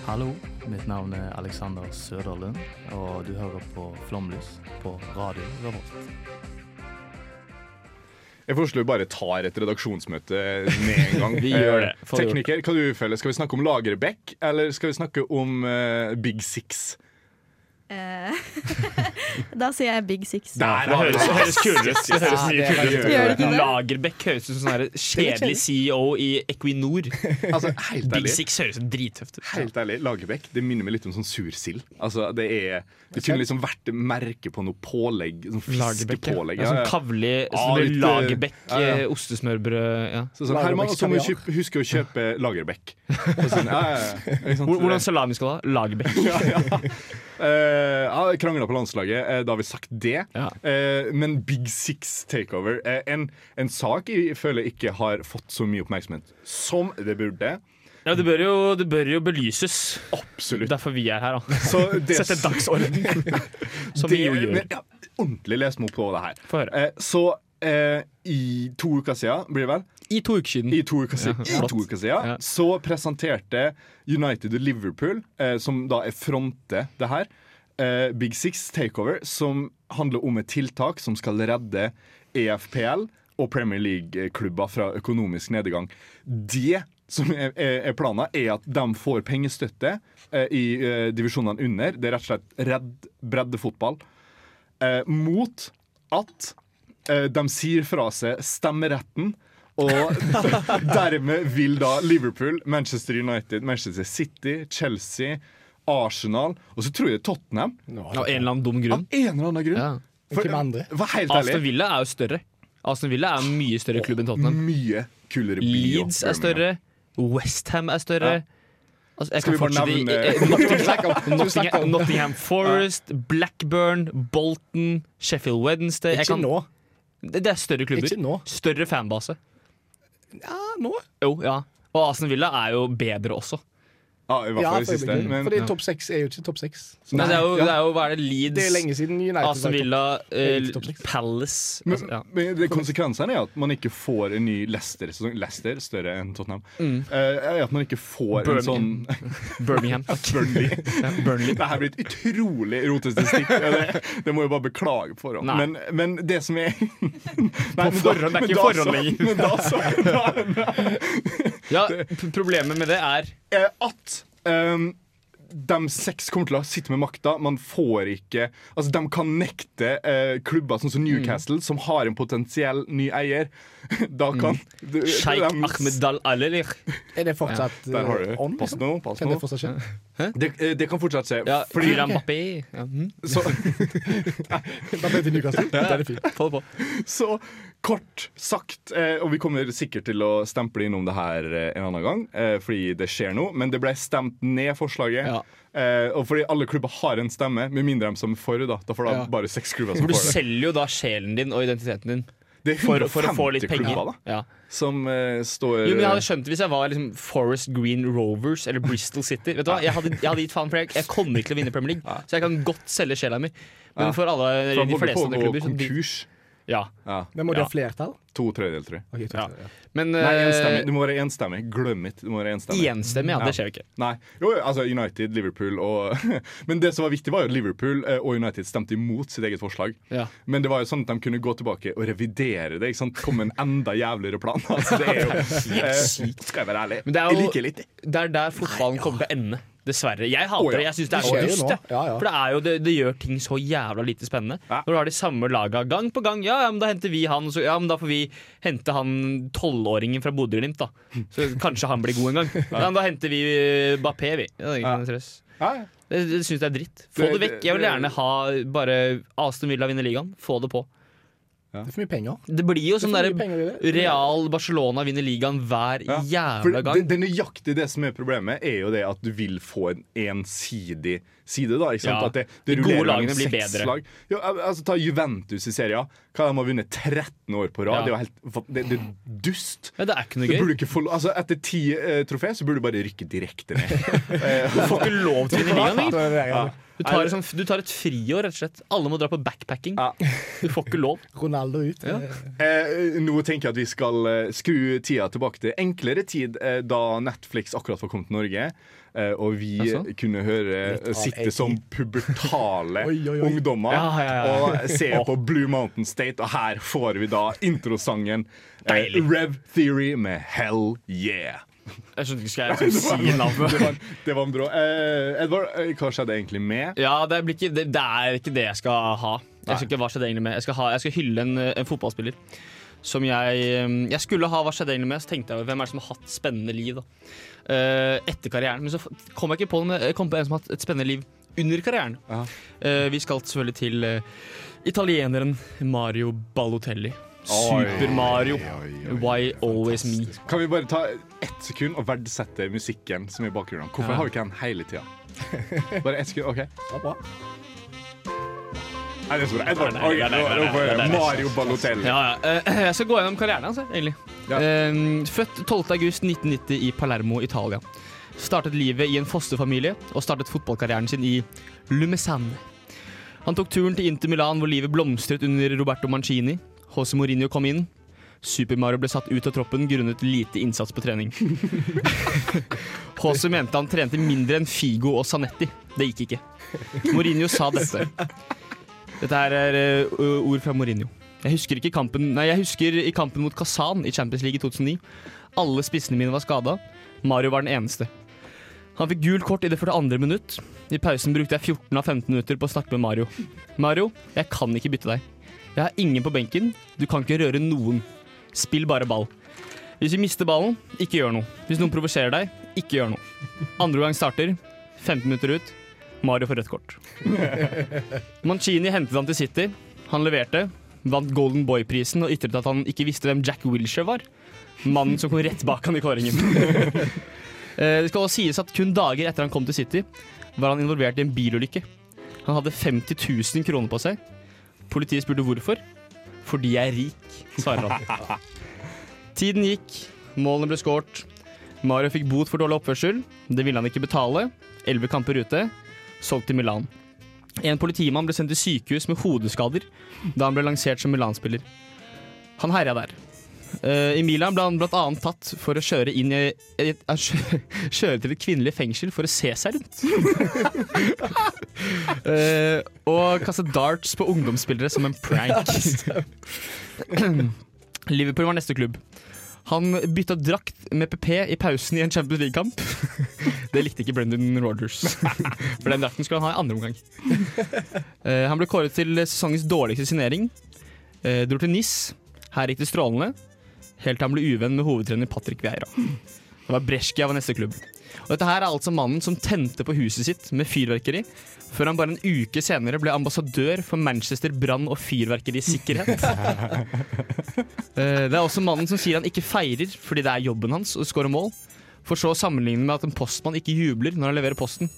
G: Hallo, mitt navn er Alexander Søderlund, og du hører på Flomlys på Radio Revolt.
C: Jeg foreslår vi bare tar et redaksjonsmøte med en gang.
E: Vi gjør det.
C: Eh,
E: Får gjort
C: Tekniker, hva du føler? Skal vi snakke om Lagerbäck, eller skal vi snakke om eh, Big Six?
H: Eh, da sier jeg Big Six.
C: Der
E: Det høres, det høres kulere ut. Det høres mye kulere ut.
H: Gjør det ikke det?
E: Lagerbäck høres ut som sånn her kjedelig CEO i Equinor.
C: Altså, helt
E: Big
C: ærlig.
E: Six høres drittøft ut.
C: Helt ærlig, Lagerbäck det minner meg litt om sånn sursild. Altså, det, er, det kunne liksom vært merke på noe pålegg. Sånn
E: Lagerbäck.
C: fiskepålegg.
E: Ja.
C: Ja,
E: Sånn
C: ja.
E: kavlig
C: Ah,
E: sånn
C: litt, eh,
E: Lagerbäck
C: ja, ja.
E: eh, ostesmørbrød. Ja.
C: Så sånn, Herman,
D: Lagerbäcks
C: så må du
D: kaviar.
C: kjøpe- huske å kjøpe Lagerbäck. Og Sånn, ja, ja, ja. Ikke sant?
E: Hvor- Hvordan salami skal du ha? Lagerbäck.
C: Eh, ja, krangla på landslaget, eh, da har vi sagt det.
E: Ja.
C: Eh, men Big Six takeover. Eh, en, en sak jeg føler ikke har fått så mye oppmerksomhet som det burde.
E: Ja, det, bør jo, det bør jo belyses.
C: Absolutt.
E: Derfor vi er her, da.
C: Så det-
E: Sette dagsorden. Som vi
C: Det-
E: jo gjør.
C: Men, ja, ordentlig les meg opp på det her.
E: Få høre.
C: Eh, så eh, i to uker siden, blir det vel?
E: I to uker siden.
C: I to uker siden,
E: Ja,
C: i
E: flott.
C: to uker siden
E: Ja.
C: så presenterte United og Liverpool, eh, som da er fronte det her, eh, Big Six Takeover, som handler om et tiltak som skal redde E EFPL og Premier League-klubber fra økonomisk nedgang. Det som er, er er planen, er at de får pengestøtte eh, i eh, divisjonene under. Det er rett og slett redd breddefotball eh, mot at eh, de sier fra seg stemmeretten. Og dermed vil da Liverpool, Manchester United, Manchester City, Chelsea, Arsenal Og så tror jeg Tottenham.
E: Av en eller annen dum
C: Av
E: grunn.
C: en eller annen grunn.
E: Ja.
C: For,
D: Hvem andre?
C: Vær helt
E: Aston
C: ærlig.
E: Villa er jo større. Aston Villa er en mye større klubb enn Tottenham.
C: Mye kulere by. og
E: Leeds
C: Birmingham.
E: er større. Westham er større.
C: Ja.
E: Altså, jeg
C: Skal
E: kan
C: vi bare
E: fortsette
C: nevne-
E: i- i- Nottingham, Nottingham Forest, Blackburn, Bolton, Sheffield Wednesday Jeg
D: Ikke
E: kan-
D: nå.
E: Det det er større klubber.
D: Ikke nå.
E: Større fanbase.
D: Ja, nå.
E: Jo, ja. Og Aston Villa er jo bedre også.
C: Ja, i hvert
D: Ja,
C: fall i
D: for
C: siste.
D: øyeblikket.
C: Men
D: Fordi topp seks er jo ikke topp seks. Så
E: Men det er jo,
C: ja.
E: det er jo hva er det, Leeds,
D: Det er lenge siden United var i
E: Aston
D: topp-
E: Villa, eh,
D: Helt topp seks.
E: Palace
C: Men,
E: altså, ja.
C: men det konsekvensene er at man ikke får en ny Leicester-sesong. Leicester, større enn Tottenham.
E: Mm.
C: Eh, er at man ikke får
E: Birmingham.
C: en sånn
E: Birmingham. Takk.
C: Burnley.
E: Burnley.
C: Det her blir et utrolig rotete stikk. Ja, Det, det må jeg bare beklage på forhånd.
E: Nei.
C: Men, men det som er Nei, men da-
E: forhånd, det er
C: men
E: ikke
C: da
E: forhånd
C: så-
E: lenger.
C: Men da så, da,
E: Ja, p- problemet med det er
C: eh, at ehm, de seks kommer til å sitte med makta. Man får ikke Altså, de kan nekte eh, klubber sånn som Newcastle, som har en potensiell ny eier. Da kan de-
E: Mm. Sheikh
C: de-
E: Ahmed Dal Alelir.
D: Er det fortsatt
C: Der har du
D: eh,
C: det.
D: on?
C: Pass
D: Liksom?
C: nå. Pass
D: Kan
C: nå.
D: det fortsatt skje?
C: Det, eh, det kan fortsatt skje.
E: Ja,
C: Fordi-
E: Kylian Mbappé. Ja, mhm.
C: så,
D: Da ble det Newcastle. Da er det fint.
E: Få det på.
C: så kort sagt, eh, og vi kommer sikkert til å stemple innom det her eh, en annen gang, eh, fordi det skjer noe, men det ble stemt ned forslaget.
E: Ja.
C: Eh, og fordi alle klubber har en stemme, med mindre de som er for, da. Da får da
E: Ja.
C: bare seks klubber som
E: For du
C: får det.
E: selger jo da sjelen din og identiteten din
C: Det er
E: for, for å få litt
C: 150
E: penger.
C: klubber da,
E: Ja.
C: som eh, står
E: Jo, men Jeg hadde skjønt det hvis jeg var liksom Forest Green Rovers eller Bristol City. Vet du hva? Jeg hadde, jeg hadde gitt faen, for jeg, jeg kommer ikke til å vinne Premier League, så jeg kan godt selge sjela mi. Men for alle
C: for
E: de
C: de
E: fleste
C: på å
E: andre
C: gå
E: klubber så de,
C: konkurs.
E: Ja.
C: Ja.
D: Men må det
E: Ja.
D: ha flertall?
C: To tredjedeler, tror jeg.
D: Ok, jeg tror
E: Ja.
D: ikke det,
E: Men
C: Nei,
E: eh,
C: enstemmig. Du må være enstemmig. Glem it. Du må være enstemmig.
E: enstemmig, ja. Det skjer jo ikke.
C: Nei. Jo, jo, altså United, Liverpool og Men det som var viktig, var jo at Liverpool eh, og United stemte imot sitt eget forslag.
E: Ja.
C: Men det var jo sånn at de kunne gå tilbake og revidere det. Ikke sant? Komme med en enda jævligere plan. Altså, det er jo eh, Skal jeg være ærlig?
E: Men det er jo-
C: Jeg liker litt det.
E: Det er der fotballen kommer til å ende. Dessverre. Jeg hater
C: Å, ja.
E: det. Jeg syns det er
D: Det
E: så
D: skjer jo
E: dust.
D: nå.
E: det.
D: Ja, ja.
E: For det, er jo, det, det gjør ting så jævla lite spennende.
C: Ja.
E: Når du har de samme laga gang på gang. Ja, ja, men da henter vi han. Så, ja, men da får vi hente han tolvåringen fra Bodø-Glimt, da. Så kanskje han blir god en gang. Ja, men da henter vi eh, Bappé, vi. Ja, det er ikke noe stress.
C: Ja, ja.
E: Det, det syns jeg er dritt. Få
C: Det-
E: det vekk. Jeg vil
C: det-
E: gjerne ha bare Aston Villa vinner ligaen. Få det på.
D: Det er for mye penger.
E: Det blir jo
D: Det er
E: sånn
D: for
E: derre
D: mye penger i det.
E: Real Barcelona vinner ligaen hver
C: Ja, For
E: jævla
C: det,
E: gang.
C: det er nøyaktig det som er problemet, er jo det at du vil få en ensidig side. da, ikke sant?
E: Ja.
C: At det, det
E: De gode
C: rullerer
E: lagene
C: mellom
E: blir
C: seks
E: bedre.
C: Lag. Jo, al- altså, ta Juventus i serien. Hva de har vunnet 13 år på rad. Det
E: Ja.
C: er jo helt det, det er dust.
E: Men det er ikke
C: Du
E: noe gøy.
C: burde ikke få, altså, etter ti eh, trofé så burde du bare rykke direkte ned. Eh,
E: Du får ikke lov til å vinne ligaen lenger.
D: Det er det jeg
C: ja.
D: gjør.
E: Du tar, et sånt- du tar et friår, rett og slett. Alle må dra på backpacking.
C: Ja.
E: Du får ikke lov.
D: Ronaldo ut.
E: Ja.
C: Eh, nå tenker jeg at vi skal eh, skru tida tilbake til enklere tid, eh, da Netflix akkurat var kommet til Norge. Eh, og vi
E: Jaså?
C: kunne høre eh,
D: av
C: sitte
D: AT.
C: som pubertale
D: Oi, oi, oi.
C: ungdommer
E: Ja, ja, ja.
C: og se på Blue Mountain State. Og her får vi da introsangen eh,
E: Deilig.
C: Rev Theory med Hell Yeah.
E: Jeg skjønte ikke skal jeg skulle si
C: Det
E: navnet.
C: var, det var en brå. Eh, Edvard, eh, hva skjedde egentlig med
E: Ja, det, blir ikke, det, det er ikke det jeg skal ha. Jeg skal ikke hva skjedde egentlig med Jeg skal, ha, jeg skal hylle en, en fotballspiller. Som jeg eh, Jeg skulle ha hva skjedde egentlig med, så tenkte jeg hvem er det som har hatt spennende liv da Eh, etter karrieren. Men så f- kom jeg ikke på, den, men jeg kom på en som har hatt et spennende liv under karrieren.
C: Ja.
E: Eh, vi skal selvfølgelig til eh, italieneren Mario Balotelli.
C: Oi,
E: Super-Mario. Why always me?
C: Kan vi bare ta ett sekund og verdsette musikken som er i bakgrunnen? Hvorfor har vi ikke den hele tida? Bare ett sekund, OK?
D: Det var bra.
C: Nei, det er så bra. Edvard,
E: Nei, nei, nei, nei,
C: ok, nå- nå får jeg
E: nei, nei, nei.
C: Mario Balotelli.
E: Ja, ja. Eh, Jeg skal gå gjennom karrieren hans, jeg, egentlig.
C: Ja.
E: Eh, Født 12.8.1990 i Palermo, Italia. Startet livet i en fosterfamilie og startet fotballkarrieren sin i Lumesane. Han tok turen til Inter Milan, hvor livet blomstret under Roberto Mancini. Jose Mourinho kom inn. Super Mario ble satt ut av troppen grunnet lite innsats på trening. Jose mente han trente mindre enn Figo og Sanetti. Det gikk ikke. Mourinho sa dette. Dette her er eh, ord fra Mourinho. Jeg husker, ikke kampen, nei, jeg husker i kampen mot Kazan i Champions League i 2009. Alle spissene mine var skada. Mario var den eneste. Han fikk gult kort i det 42. minutt. I pausen brukte jeg 14 av 15 minutter på å snakke med Mario. Mario, jeg kan ikke bytte deg. Jeg har ingen på benken. Du kan ikke røre noen. Spill bare ball. Hvis vi mister ballen, ikke gjør noe. Hvis noen provoserer deg, ikke gjør noe. Andre gang starter. 15 minutter ut. Mario får rødt kort. Mancini hentet han til City. Han leverte vant Golden Boy-prisen og ytret at han ikke visste hvem Jack Wilshere var. Mannen som kom rett bak han i kåringen. Eh, Det skal også sies at kun dager etter han kom til City, var han involvert i en bilulykke. Han hadde 50 000 kroner på seg. Politiet spurte hvorfor. Fordi jeg er rik, svarer han. Tiden gikk, målene ble skåret. Mario fikk bot for dårlig oppførsel. Det ville han ikke betale. Elleve kamper ute. Solgt til Milan. En politimann ble sendt til sykehus med hodeskader da han ble lansert som Milan-spiller. Han herja der. Eh, I Milan ble han blant annet tatt for å kjøre inn i et, eh, kjø- Kjøre til et kvinnelig fengsel for å se seg rundt. Eh, og kaste darts på ungdomsspillere som en prank. Liverpool var neste klubb. Han bytta drakt med PP i pausen i en Champions League-kamp. Det likte ikke Brendan Rodgers, for den drakten skulle han ha i andre omgang. Eh, han ble kåret til sesongens dårligste signering. Eh, dro til NIS. Her gikk det strålende. Helt til han ble uvenn med hovedtrener Patrick Vieira. Det var Brescia var neste klubb. Og dette her er altså mannen som tente på huset sitt med fyrverkeri, før han bare en uke senere ble ambassadør for Manchester brann- og fyrverkerisikkerhet. Eh, det er også mannen som sier han ikke feirer fordi det er jobben hans å score mål, for så å sammenligne med at en postmann ikke jubler når han leverer posten.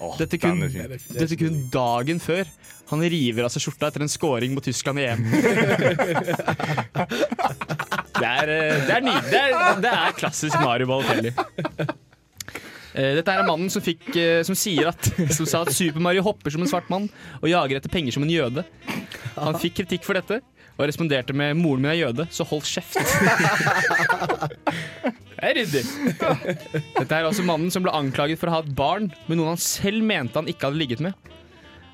C: Åh,
E: Dette kun-
C: den er fin.
E: Dette kun dagen før. Han river av seg skjorta etter en scoring mot Tyskland i EM. det er, eh, det er nydelig. Det er, det er klassisk Mario Balotelli. Eh, Dette her er mannen som, fikk, eh, som, sier at, som sa at Super Mario hopper som en svart mann og jager etter penger som en jøde. Han fikk kritikk for dette og responderte med 'moren min er jøde, så hold kjeft'. Det er ryddig. Dette er også mannen som ble anklaget for å ha et barn med noen han selv mente han ikke hadde ligget med.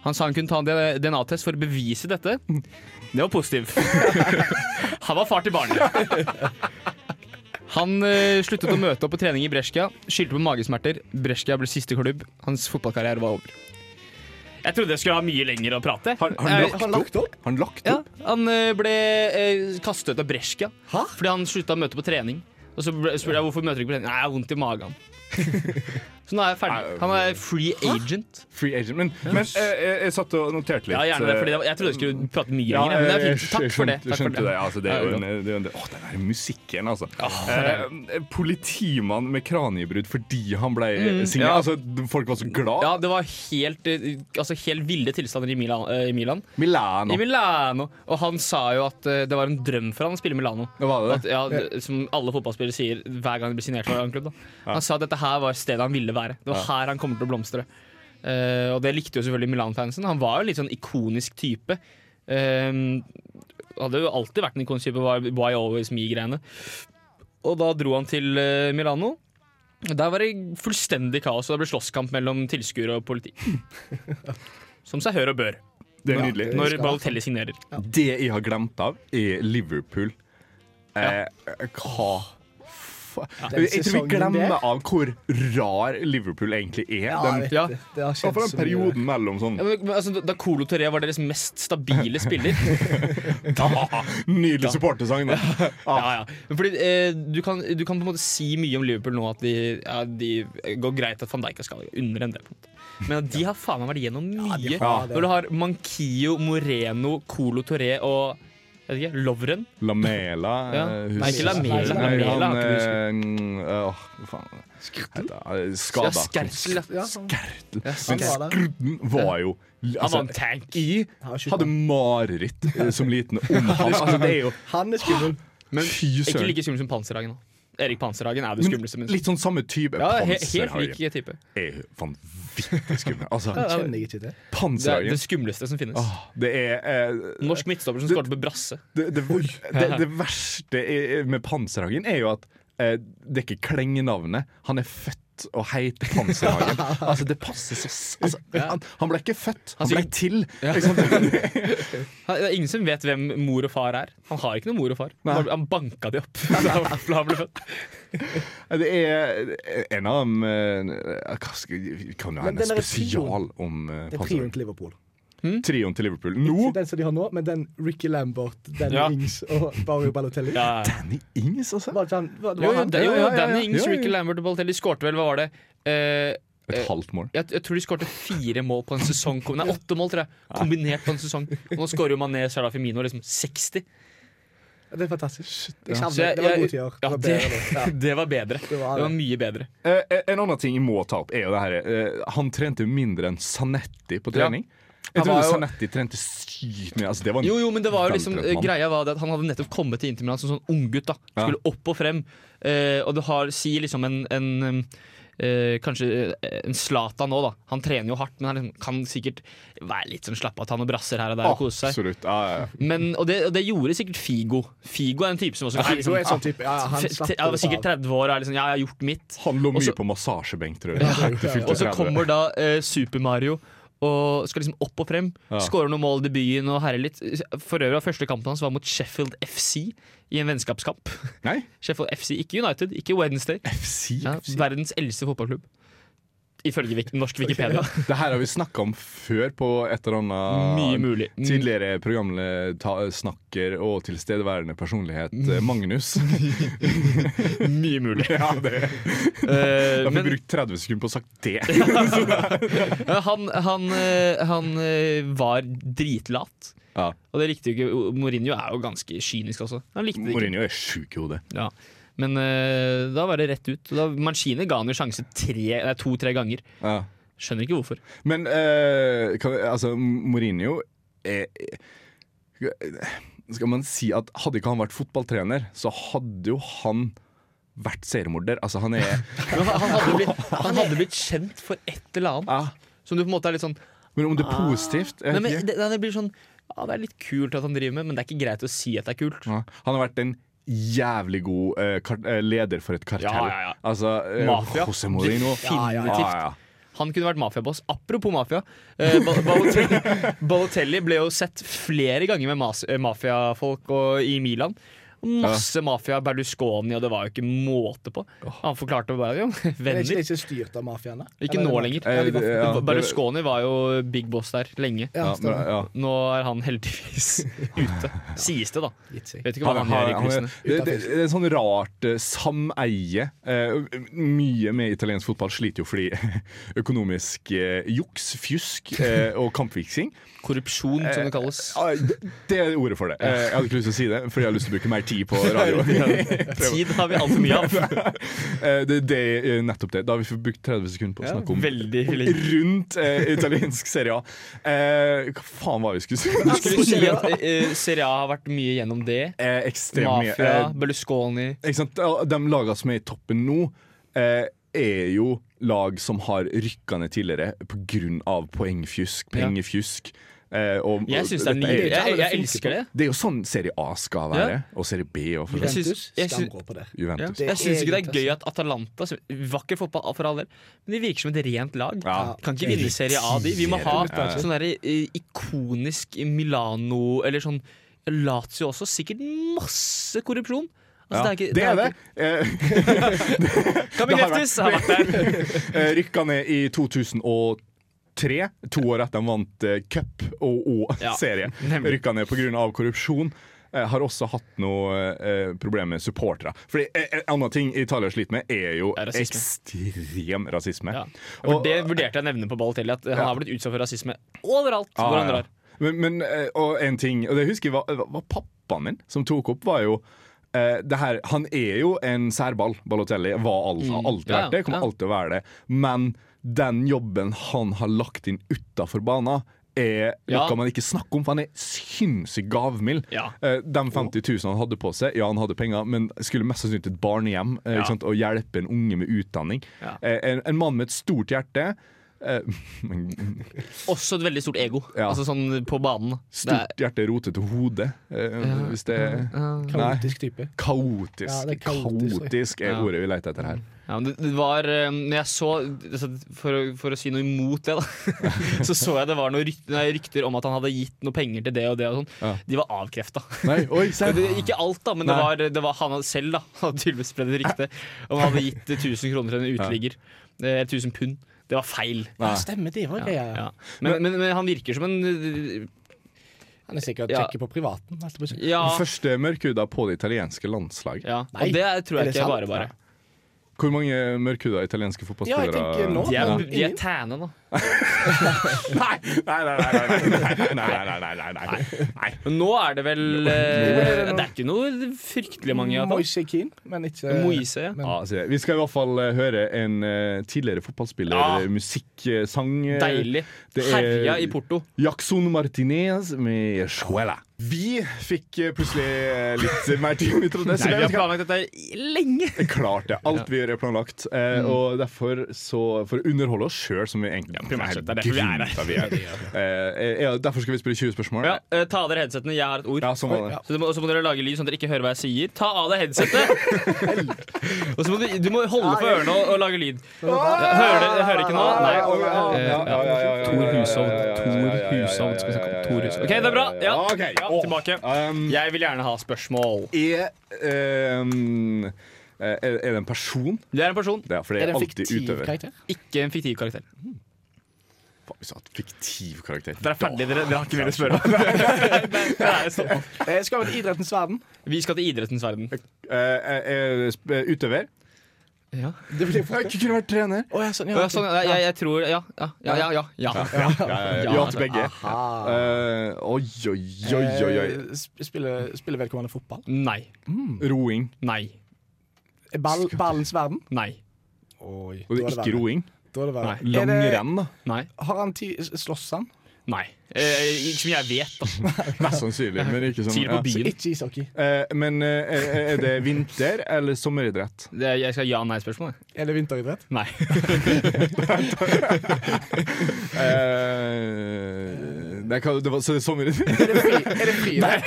E: Han sa han kunne ta en DNA-test for å bevise dette. Det var positivt. Han var far til barnet. Han eh, sluttet å møte opp på trening i Brescia, skyldte på magesmerter. Brescia ble siste klubb. Hans fotballkarriere var over. Jeg trodde jeg skulle ha mye lenger å prate.
C: Har har
E: Eh,
C: han lagt opp? Har han lagt
E: ja,
C: opp?
E: han eh, ble eh, kastet ut av Brescia fordi han slutta å møte på trening. Og så ble- spurte jeg hvorfor møter du ikke på trening. Nei, jeg har vondt i magen. så nå er jeg ferdig. Han er free agent.
C: Free agent. Men, men eh, jeg, jeg satt og noterte litt.
E: Ja, gjerne det, fordi det var, Jeg trodde jeg skulle prate mye lenger, men det er fint. Takk for det.
C: Mm. Jeg
E: Takk for
C: skjønte det.
E: det.
C: Altså, det er jo en, det er jo en, åh, den der musikken, altså. Eh, politimann med kraniebrudd fordi han ble mm,
E: ja.
C: Altså, folk var så glad.
E: Ja, det var helt, eh, altså, helt ville tilstander i Milan. eh, I Milan.
C: Milano.
E: I Milano. Og han sa jo at eh, det var en drøm for han å spille i Milano.
C: Det var det.
E: At, ja, det, som alle fotballspillere sier hver gang de blir signert for en annen klubb. Da. Han sa at dette her var stedet han ville være. Det var her han kommer til å blomstre. Eh, og det likte jo selvfølgelig Milan-fansen. Han var jo litt sånn ikonisk type. Um, hadde jo alltid vært en ikonisk type, var Why Always Me-greiene. Og da dro han til eh, Milano. Der var det fullstendig kaos, og det ble slåsskamp mellom tilskuere og politi. Som seg hør og bør
C: Det er nydelig.
E: når Balotelli signerer.
C: Det jeg har glemt av, er Liverpool. Eh, hva fa-
D: Den
C: Jeg tror vi
D: sesongen
C: glemmer
D: der.
C: av hvor rar Liverpool egentlig er.
D: Ja, jeg
C: den,
D: vet
E: ja.
D: det. Det har
C: ja,
D: skjedd
C: for den
D: så mye.
C: perioden mellom sånn
E: Ja, men, men altså, da Colo Torre var deres mest stabile spiller
C: Ah, Nydelig supportersang, da.
E: ja, ja. Men Fordi, eh, du, kan, du kan på en måte si mye om Liverpool nå, at de, ja, de eh, går greit at van Dijk er skadet under en del. på en måte. Men at de har faen meg vært gjennom mye.
D: de har det.
E: Når du har Mankio, Moreno, Colo Torre og jeg vet ikke, Lovren.
C: Lamela
E: Ja.
C: eh,
E: Nei, ikke Lamela.
C: Nei,
E: Lamela har
C: han
E: ikke
C: eh, mm, Åh, hva faen. Heter- Eh,
E: Ja, sånn.
C: Skada.
E: Skertl.
D: Ja,
C: Skertel.
D: han- han
C: Men
D: var der.
C: Skrudden var jo
E: Han
C: altså,
E: var en tank.
C: Jeg
D: Han var skytten.
C: hadde mareritt eh, som liten om han. Altså, det er jo
D: Han er skummel.
E: Ah.
C: Fy
E: Ikke
C: søren.
E: like skummel som Panserhagen. da. Erik Panserhagen er det
C: Men
E: skumleste. men-
C: Litt sånn samme type.
E: Ja, he helt
C: Panserhagen
E: lik type.
C: er jo vanvittig skummel. Altså,
D: Kjenner jeg ikke til.
E: Det er det
C: Panserhagen
E: skumleste som finnes.
C: Åh, Det er eh,
E: Norsk midtstopper som skåret på Brasse.
C: det, det, det, det verste i- med Panserhagen er jo at eh, det er ikke klengenavnet. Han er født og heter Panserhagen. Altså, det passer så s- altså, han, han ble ikke født, han ble
E: sier-
C: til. Liksom. Det,
E: Han, det er ingen som vet hvem mor og far er. Han har ikke noen mor og far. Han, han banka de opp da han da han ble født.
C: er en av dem eh, hva skal, vi Kan jo ha
D: Men
C: en
D: den er et
C: spesial om eh,
D: Det er trioen
C: Panserhagen.
D: til Liverpool.
C: Trioen til Liverpool. Nå
D: Ikke den som de har nå, men den Ricky Lambert, Danny
E: Oh. Ja.
D: Ings og Barrio Balotelli.
E: Ja.
C: Danny Ings, altså.
D: Var det ikke han? Var,
E: Jo,
D: var
E: jo,
D: han?
E: det, jo, jo,
C: ja, ja,
E: Danny
C: ja.
E: Ings,
C: Jo, jo.
E: Ricky Lambert og Balotelli skårte vel, hva var det? Eh,
C: Et halvt mål.
E: jeg, jeg tror de skårte fire mål på en sesong. Kom- Nei, åtte mål, tror jeg. Kombinert på en sesong. Og nå skårer jo Mané Sarah Firmino liksom 60.
D: Det er fantastisk. Jeg
E: Så
D: savner det.
E: jeg-
D: Det var
E: jeg-
D: gode tider. Det
E: Ja,
D: var
E: det,
D: bedre nå. Ja.
E: det var bedre.
D: Det var
E: Det var
D: det.
E: mye bedre.
C: Eh, eh, en annen ting jeg må ta opp, er jo det her eh, Han trente mindre enn Sanetti på trening. Jeg
E: Han
C: trodde
E: var jo-
C: Sanetti trente sykt mye. Altså, det var en
E: Jo, jo, men det var jo liksom
C: veltrent mann.
E: Greia var det at han hadde nettopp kommet til Inter Milan som sånn unggutt. da
C: Ja.
E: Skulle opp og frem. Eh, og det har, sier liksom en, en em, eh, Kanskje eh, en Zlatan nå, da. Han trener jo hardt, men han liksom kan sikkert være litt sånn slappe av, ta noen brasser her og der og kose seg.
C: Absolutt. Ja, ja, ja.
E: Men, og, det, og det gjorde sikkert Figo. Figo er liksom en type som også
D: Figo er en sånn type, ja, ja, han
E: fe-
D: slapper
E: te- var sikkert
D: litt
E: 30 år og er liksom Ja, jeg har gjort mitt.
C: Han lå mye
E: Også-
C: på massasjebenk, tror jeg. Etter fylte
E: Og så
C: 30.
E: kommer da eh, Super-Mario og skal liksom opp og frem.
C: Ja.
E: Skårer noen mål i debuten og herjer litt. For øvrig var første kampen hans var mot Sheffield FC i en vennskapskamp.
C: Nei,
E: Sheffield FC, Ikke United, ikke Wednesday.
C: FC.
E: Ja, verdens eldste fotballklubb. Ifølge Wik norsk Wikipedia.
C: Det her har vi snakka om før på et eller annet
E: Mye mulig. Mm.
C: Tidligere programsnakker og tilstedeværende personlighet
E: Mm.
C: eh, Magnus.
E: Mye mulig.
C: ja, det
E: Eh,
C: Da får vi
E: men
C: brukt 30 sekunder på å ha sagt det.
E: eh, han, han, eh, han eh, var dritlat.
C: Ja.
E: Og det likte jo ikke Mourinho er jo ganske kynisk også. Han likte det ikke.
C: Mourinho er sjuk i hodet.
E: Ja. Men eh, da var det rett ut. Og Da, Mancini ga han jo sjanse tre- nei, to-tre ganger.
C: Ja.
E: Skjønner ikke hvorfor.
C: Men eh, kan, altså, Mourinho er, Skal man si at hadde ikke han vært fotballtrener, så hadde jo han vært seriemorder. Altså, han er
E: Men han, han, hadde blitt, han hadde blitt kjent for et eller annet.
C: ja.
E: Som du på en måte er litt sånn
C: Ah, Men om det er positivt jeg
E: Nei,
C: vet
E: men
C: ikke.
E: det, nei, det blir sånn ja, Det er litt kult at han driver med, men det er ikke greit å si at det er kult.
C: ja. Ah, Han har vævært en jævlig god eh, kar- eh, leder for et kartell.
E: Ja, ja, ja.
C: Altså eh,
E: Mafia.
C: José Mourinho. Ah,
E: Definitivt.
C: Ja, ja.
E: Han kunne vært mafiaboss. Apropos mafia. Eh, Ba- Balotelli, Balotelli ble jo sett flere ganger med mas- eh, mafiafolk og- i Milan. Masse mafia, Berlusconi, og det var jo ikke måte på. Han forklarte bare jo,
D: Men er ikke
E: venner.
D: det ikke styrt av mafiaen? da?
E: Ikke
D: Eller-
E: nå lenger.
D: Ja, de var-
C: Eh, ja, det-
E: Berlusconi var jo big boss der lenge.
D: Ja,
C: Ja, men,
D: stemmer.
C: ja.
E: Nå er han heldigvis ute. Sies det, da.
D: Gitt seg.
E: Vet ikke hva han gjør i kulissene.
C: det, det, det er sånn rart eh, sameie. Eh, mye med italiensk fotball sliter jo fordi økonomisk eh, juks, fjusk eh, og kampfiksing
E: Korrupsjon, som
C: Eh,
E: det kalles.
C: Ja, Det er ordet for det. Eh, jeg hadde ikke lyst til å si det, fordi jeg har lyst til å bruke mer tid på radio.
E: Tid har vi altfor mye av.
C: Eh, det, det er nettopp det. Da har vi fått brukt 30 sekunder på å snakke om
E: Veldig lenge.
C: rundt eh, italiensk serie A. Eh, hva faen var det vi skulle si?
E: Du skulle si at eh, Serie A har vært mye gjennom det.
C: eh, ekstremt mye.
E: Mafia,
C: Eh,
E: Berlusconi
C: ikke sant? Ja, De lagene som er i toppen nå, eh, er jo lag som har rykka ned tidligere pga. poengfjusk, pengefjusk. Eh, og,
E: Jeg syns det er
C: dette
E: nydelig.
C: jo-
E: Jeg, jeg elsker det.
C: Det er jo sånn Serie A skal
E: Ja.
C: være, og Serie B og for så vidt
E: Jeg syns,
D: Juventus,
E: jeg syns,
D: skamrå på det.
E: ja.
C: Juventus.
E: jeg syns ikke det er gøy at Atalanta som- Vakker fotball for all del, men de virker som et rent lag.
C: Ja.
E: Kan ikke vinne Serie A, de. Vi må ha
C: Ja.
E: sånn derre eh, ikonisk Milano eller sånn Lazio også. Sikkert masse korrupsjon.
C: Ja.
E: Altså, det, er ikke,
C: det er det.
E: ikke-
C: Eh,
E: Kan vi
C: Det har
E: bekreftes? Har vært der.
C: eh, rykka ned i 2003, to år etter de vant eh, cup og, og
E: Ja,
C: serie.
E: nemlig.
C: Rykka ned pga. korrupsjon. Eh, har også hatt noe eh, problem med supportere. Fordi eh, En annen ting Italia sliter med, er jo
E: Er rasisme.
C: ekstrem rasisme.
E: Ja. For
C: Og-
E: det vurderte jeg å nevne på Balotelli, at han
C: Ja.
E: har blitt utsatt for rasisme overalt
C: Ah, Ja,
E: hvor han
C: ja.
E: drar.
C: Men, men, eh, og en ting, og det husker jeg var, var pappaen min som tok opp, var jo eh, det her, Han er jo en særball, Balotelli. Var alt, har alltid
E: Mm. Ja,
C: vært det, kommer
E: ja.
C: alltid å være det. Men den jobben han har lagt inn utafor banen, er
E: Ja.
C: noe man ikke snakker om, for han er sinnssykt gavmild.
E: Ja.
C: Eh, de 50 000 han hadde på seg, ja, han hadde penger, men skulle mest sannsynlig til et barnehjem eh,
E: Ja.
C: ikke sant, og hjelpe en unge med utdanning.
E: Ja.
C: Eh, en, en mann med et stort hjerte. Eh, men
E: Også et veldig stort ego,
C: Ja.
E: altså sånn på banen.
C: Stort hjerte rotet til hodet. Eh, hvis det er Nei.
D: Kaotisk type.
C: Kaotisk.
D: Ja, det er kaotisk,
C: kaotisk, er
E: ja.
C: ordet vi leter etter her.
E: Ja, men det, det var eh, Når jeg så altså, for, å- for å si noe imot det, da, så så jeg det var noen rykt, nei, rykter om at han hadde gitt noe penger til det og det og sånn.
C: Ja.
E: De var avkrefta.
C: Nei, oi, se.
E: Ikke alt, da, men det
C: Nei.
E: var, det var han selv da hadde tydeligvis spredd et rykte om han hadde gitt 1000 kroner til en uteligger. Eh, 1000 pund. Det var feil.
C: Nei.
D: Stemmer det, var det.
E: Ja. Men, men, men han virker som en
D: Han er sikkert
E: Ja.
D: sjekker på privaten. holdt jeg på å si.
E: Ja.
C: Den Første mørkhuda på det italienske landslaget.
E: ja.
D: Nei,
E: Og det er- tror
D: er det
E: jeg ikke er
D: sant?
E: bare bare.
C: Hvor mange mørkhuda italienske
D: Ja, jeg
C: fotballspillere
D: tenker nå
E: De er,
D: men
E: de er
D: ingen-
E: tæne, da.
C: Nei, nei, nei, nei, nei, nei, nei, nei, nei, nei, nei, nei. nei.
E: Men nå er det vel eh, Det er ikke noe fryktelig mange. i hvert fall.
D: Moise Keane, men ikke
E: Moise. ja.
D: Men-
C: Ja, se. Vi skal i hvert fall eh, høre en eh, tidligere fotballspiller,
E: Ja.
C: eh, musikksang eh,
E: Deilig.
C: det er-
E: Herja i Porto.
C: Jackson Martinez med Shuela. Vi fikk eh, plutselig eh, litt mer tid ut av det. så
E: Nei,
C: det-
E: vi har planlagt dette lenge.
C: Det er Klart det. Alt vi gjør er planlagt. Eh, Og derfor, så, for å underholde oss sjøl, som vi egentlig
E: primært sett, det er derfor vi er her.
C: grunnen til at vi er. Eh, ja, derfor skal vi spørre 20 spørsmål.
E: Ja, eh, ta av dere headsettene. Jeg har et ord.
C: Ja, sånn var det.
E: Så, må, så må dere lage lyd sånn at dere ikke hører hva jeg sier. Ta av deg headsetet! og så må du, du må holde for ørene og, og lage lyd. Ja, Hører dere hører ikke nå? Nei.
G: Tor Hushovd. Tor Hushovd skal vi snakke om. Tor Hushovd.
E: OK, det er bra. Ja,
C: Ja, ok.
E: ja tilbake.
C: Um,
E: Jeg vil gjerne ha spørsmål.
C: er, ehm, eh, er er det en person?
E: Du er en person,
C: Det er, for det
D: Er
C: er,
D: det en
C: alltid
D: fiktiv
C: utøver.
D: karakter?
E: ikke en fiktiv karakter.
C: Faen, vi sa at fiktiv karakter.
E: Dere er ferdige, dere, dere har ikke mer å spørre om. Det er stopp.
D: Eh, Skal vi til idrettens verden?
E: Vi skal til idrettens verden.
C: Eh, eh, eh, sp- eh, utøver?
E: Ja.
D: Det blir fort.
C: Jeg kunne vært trener.
D: Å, ja, sånn,
E: Å, ja, sånn, ja, jeg, jeg tror Ja, ja, ja. ja, ja, ja. altså.
C: Ja, ja, ja.
E: Ja,
C: ja til begge.
D: Aha.
C: Eh, oi, oi, oi, oi, oi.
D: Eh, sp- Spiller, spiller vedkommende fotball? Eh,
E: Nei.
C: Roing.
E: Nei.
D: Ball, ballens verden?
E: Nei.
D: Oi,
C: Og det er ikke roing.
D: Da er det verre.
C: Langrenn, da.
E: Nei.
D: Har han ti, slåss han?
E: Nei. Eh, ikke som jeg vet, da.
C: Mest sannsynlig, men ikke sånn.
E: Sier
C: ja.
E: på
D: Så
E: byen.
D: ikke ishockey.
C: Eh, men eh, er- er det vinter- eller sommeridrett?
E: Det er, jeg skal ha ja-nei-spørsmål.
D: Er det vinteridrett?
E: Nei.
C: Eh, det, kan, det var, så det er sommeridrett?
D: Er det, fri, er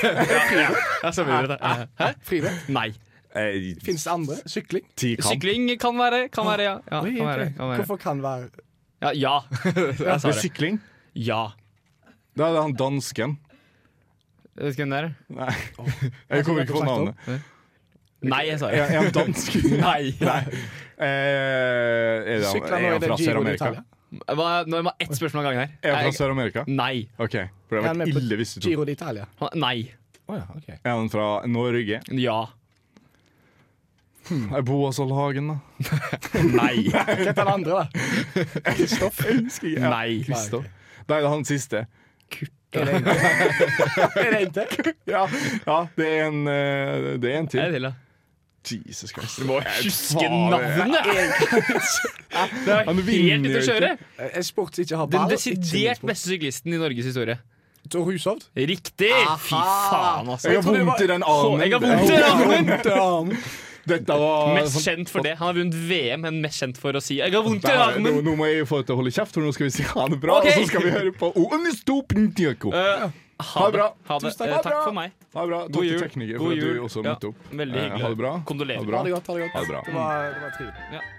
D: det friidrett?
E: Ja, så blir det det. Hæ?
D: friidrett?
E: Nei.
C: Eh,
D: Fins det andre? Sykling?
C: Tikamp.
E: Sykling kan være. Kan være, ja. Ja,
D: Oi,
E: kan være,
D: ok.
E: kan være.
D: Hvorfor kan være
E: ja, ja. Jeg sa
C: Det er
E: det.
C: sykling?
E: Ja.
C: Da er det han dansken.
E: Jeg Vet ikke hvem det er.
C: Nei, jeg kommer ikke på navnet.
E: Nei, jeg sa
C: Er
E: det.
C: er han dansk?
E: Nei.
C: Eh, er, det,
D: Sykler
C: han- er
D: nå er
C: han
D: det
C: fra
D: Giro
C: Sør-Amerika?
D: d'Italia.
E: Hva, nå må jeg ett spørsmål av gangen her.
C: Er han fra
E: Jeg-
C: Sør-Amerika?
E: Nei.
C: OK. For det
D: Er
C: har
D: han
C: vært
D: med på
C: ille hvis du tok
D: Giro d'Italia.
E: Han- Nei.
C: Er han fra Norge?
E: Ja.
C: Er Boasol Hagen, da?
E: Nei.
D: Hva heter den andre, da? Kristoff?
E: Nei.
C: Kristoff? Nei, det er han siste.
D: Er det en til? Er det en til?
C: Ja, ja det er en eh, Det er en
E: Er det
C: til.
E: til, da?
C: Jesus Christ.
E: Huske
C: faen,
E: navnet! Det er
C: Han
E: helt
C: vinner jo
E: ute å
C: ikke.
E: kjøre!
D: Eh, En sport som ikke har
E: Den
D: ball.
E: desidert beste syklisten i Norges historie.
D: Tor Hushovd?
E: Riktig! Fy faen, altså.
C: Jeg har
D: trodde det
C: vondt i den armen.
E: Jeg har vondt i armen!
C: Dette var
E: Mest kjent for det. Han har vunnet VM, men mest kjent for å si 'jeg har vondt
C: sånn-
E: i
C: Der, nå,
E: armen'.
C: nå må jeg få deg til å holde kjeft, for nå skal vi si ha det bra.
E: Ok.
C: Og så skal vi høre på Oenistopendiako.
E: Eh,
C: Ha det bra.
E: Ha det.
C: Tusen takk.
E: Eh,
C: Ha det
E: takk
C: bra.
E: for meg.
C: Ha det bra. Takk
E: God
C: til
E: jul.
C: tekniker
E: God
C: for at du
E: jul.
C: også
E: Ja,
C: møtte opp.
E: veldig
C: Eh,
E: hyggelig.
C: Ha det bra.
E: Kondolerer.
C: Ha det
D: Ha det
C: bra.
D: godt. ha det godt.
C: Ha det bra.
D: Det var, det var trivelig.
E: Ja.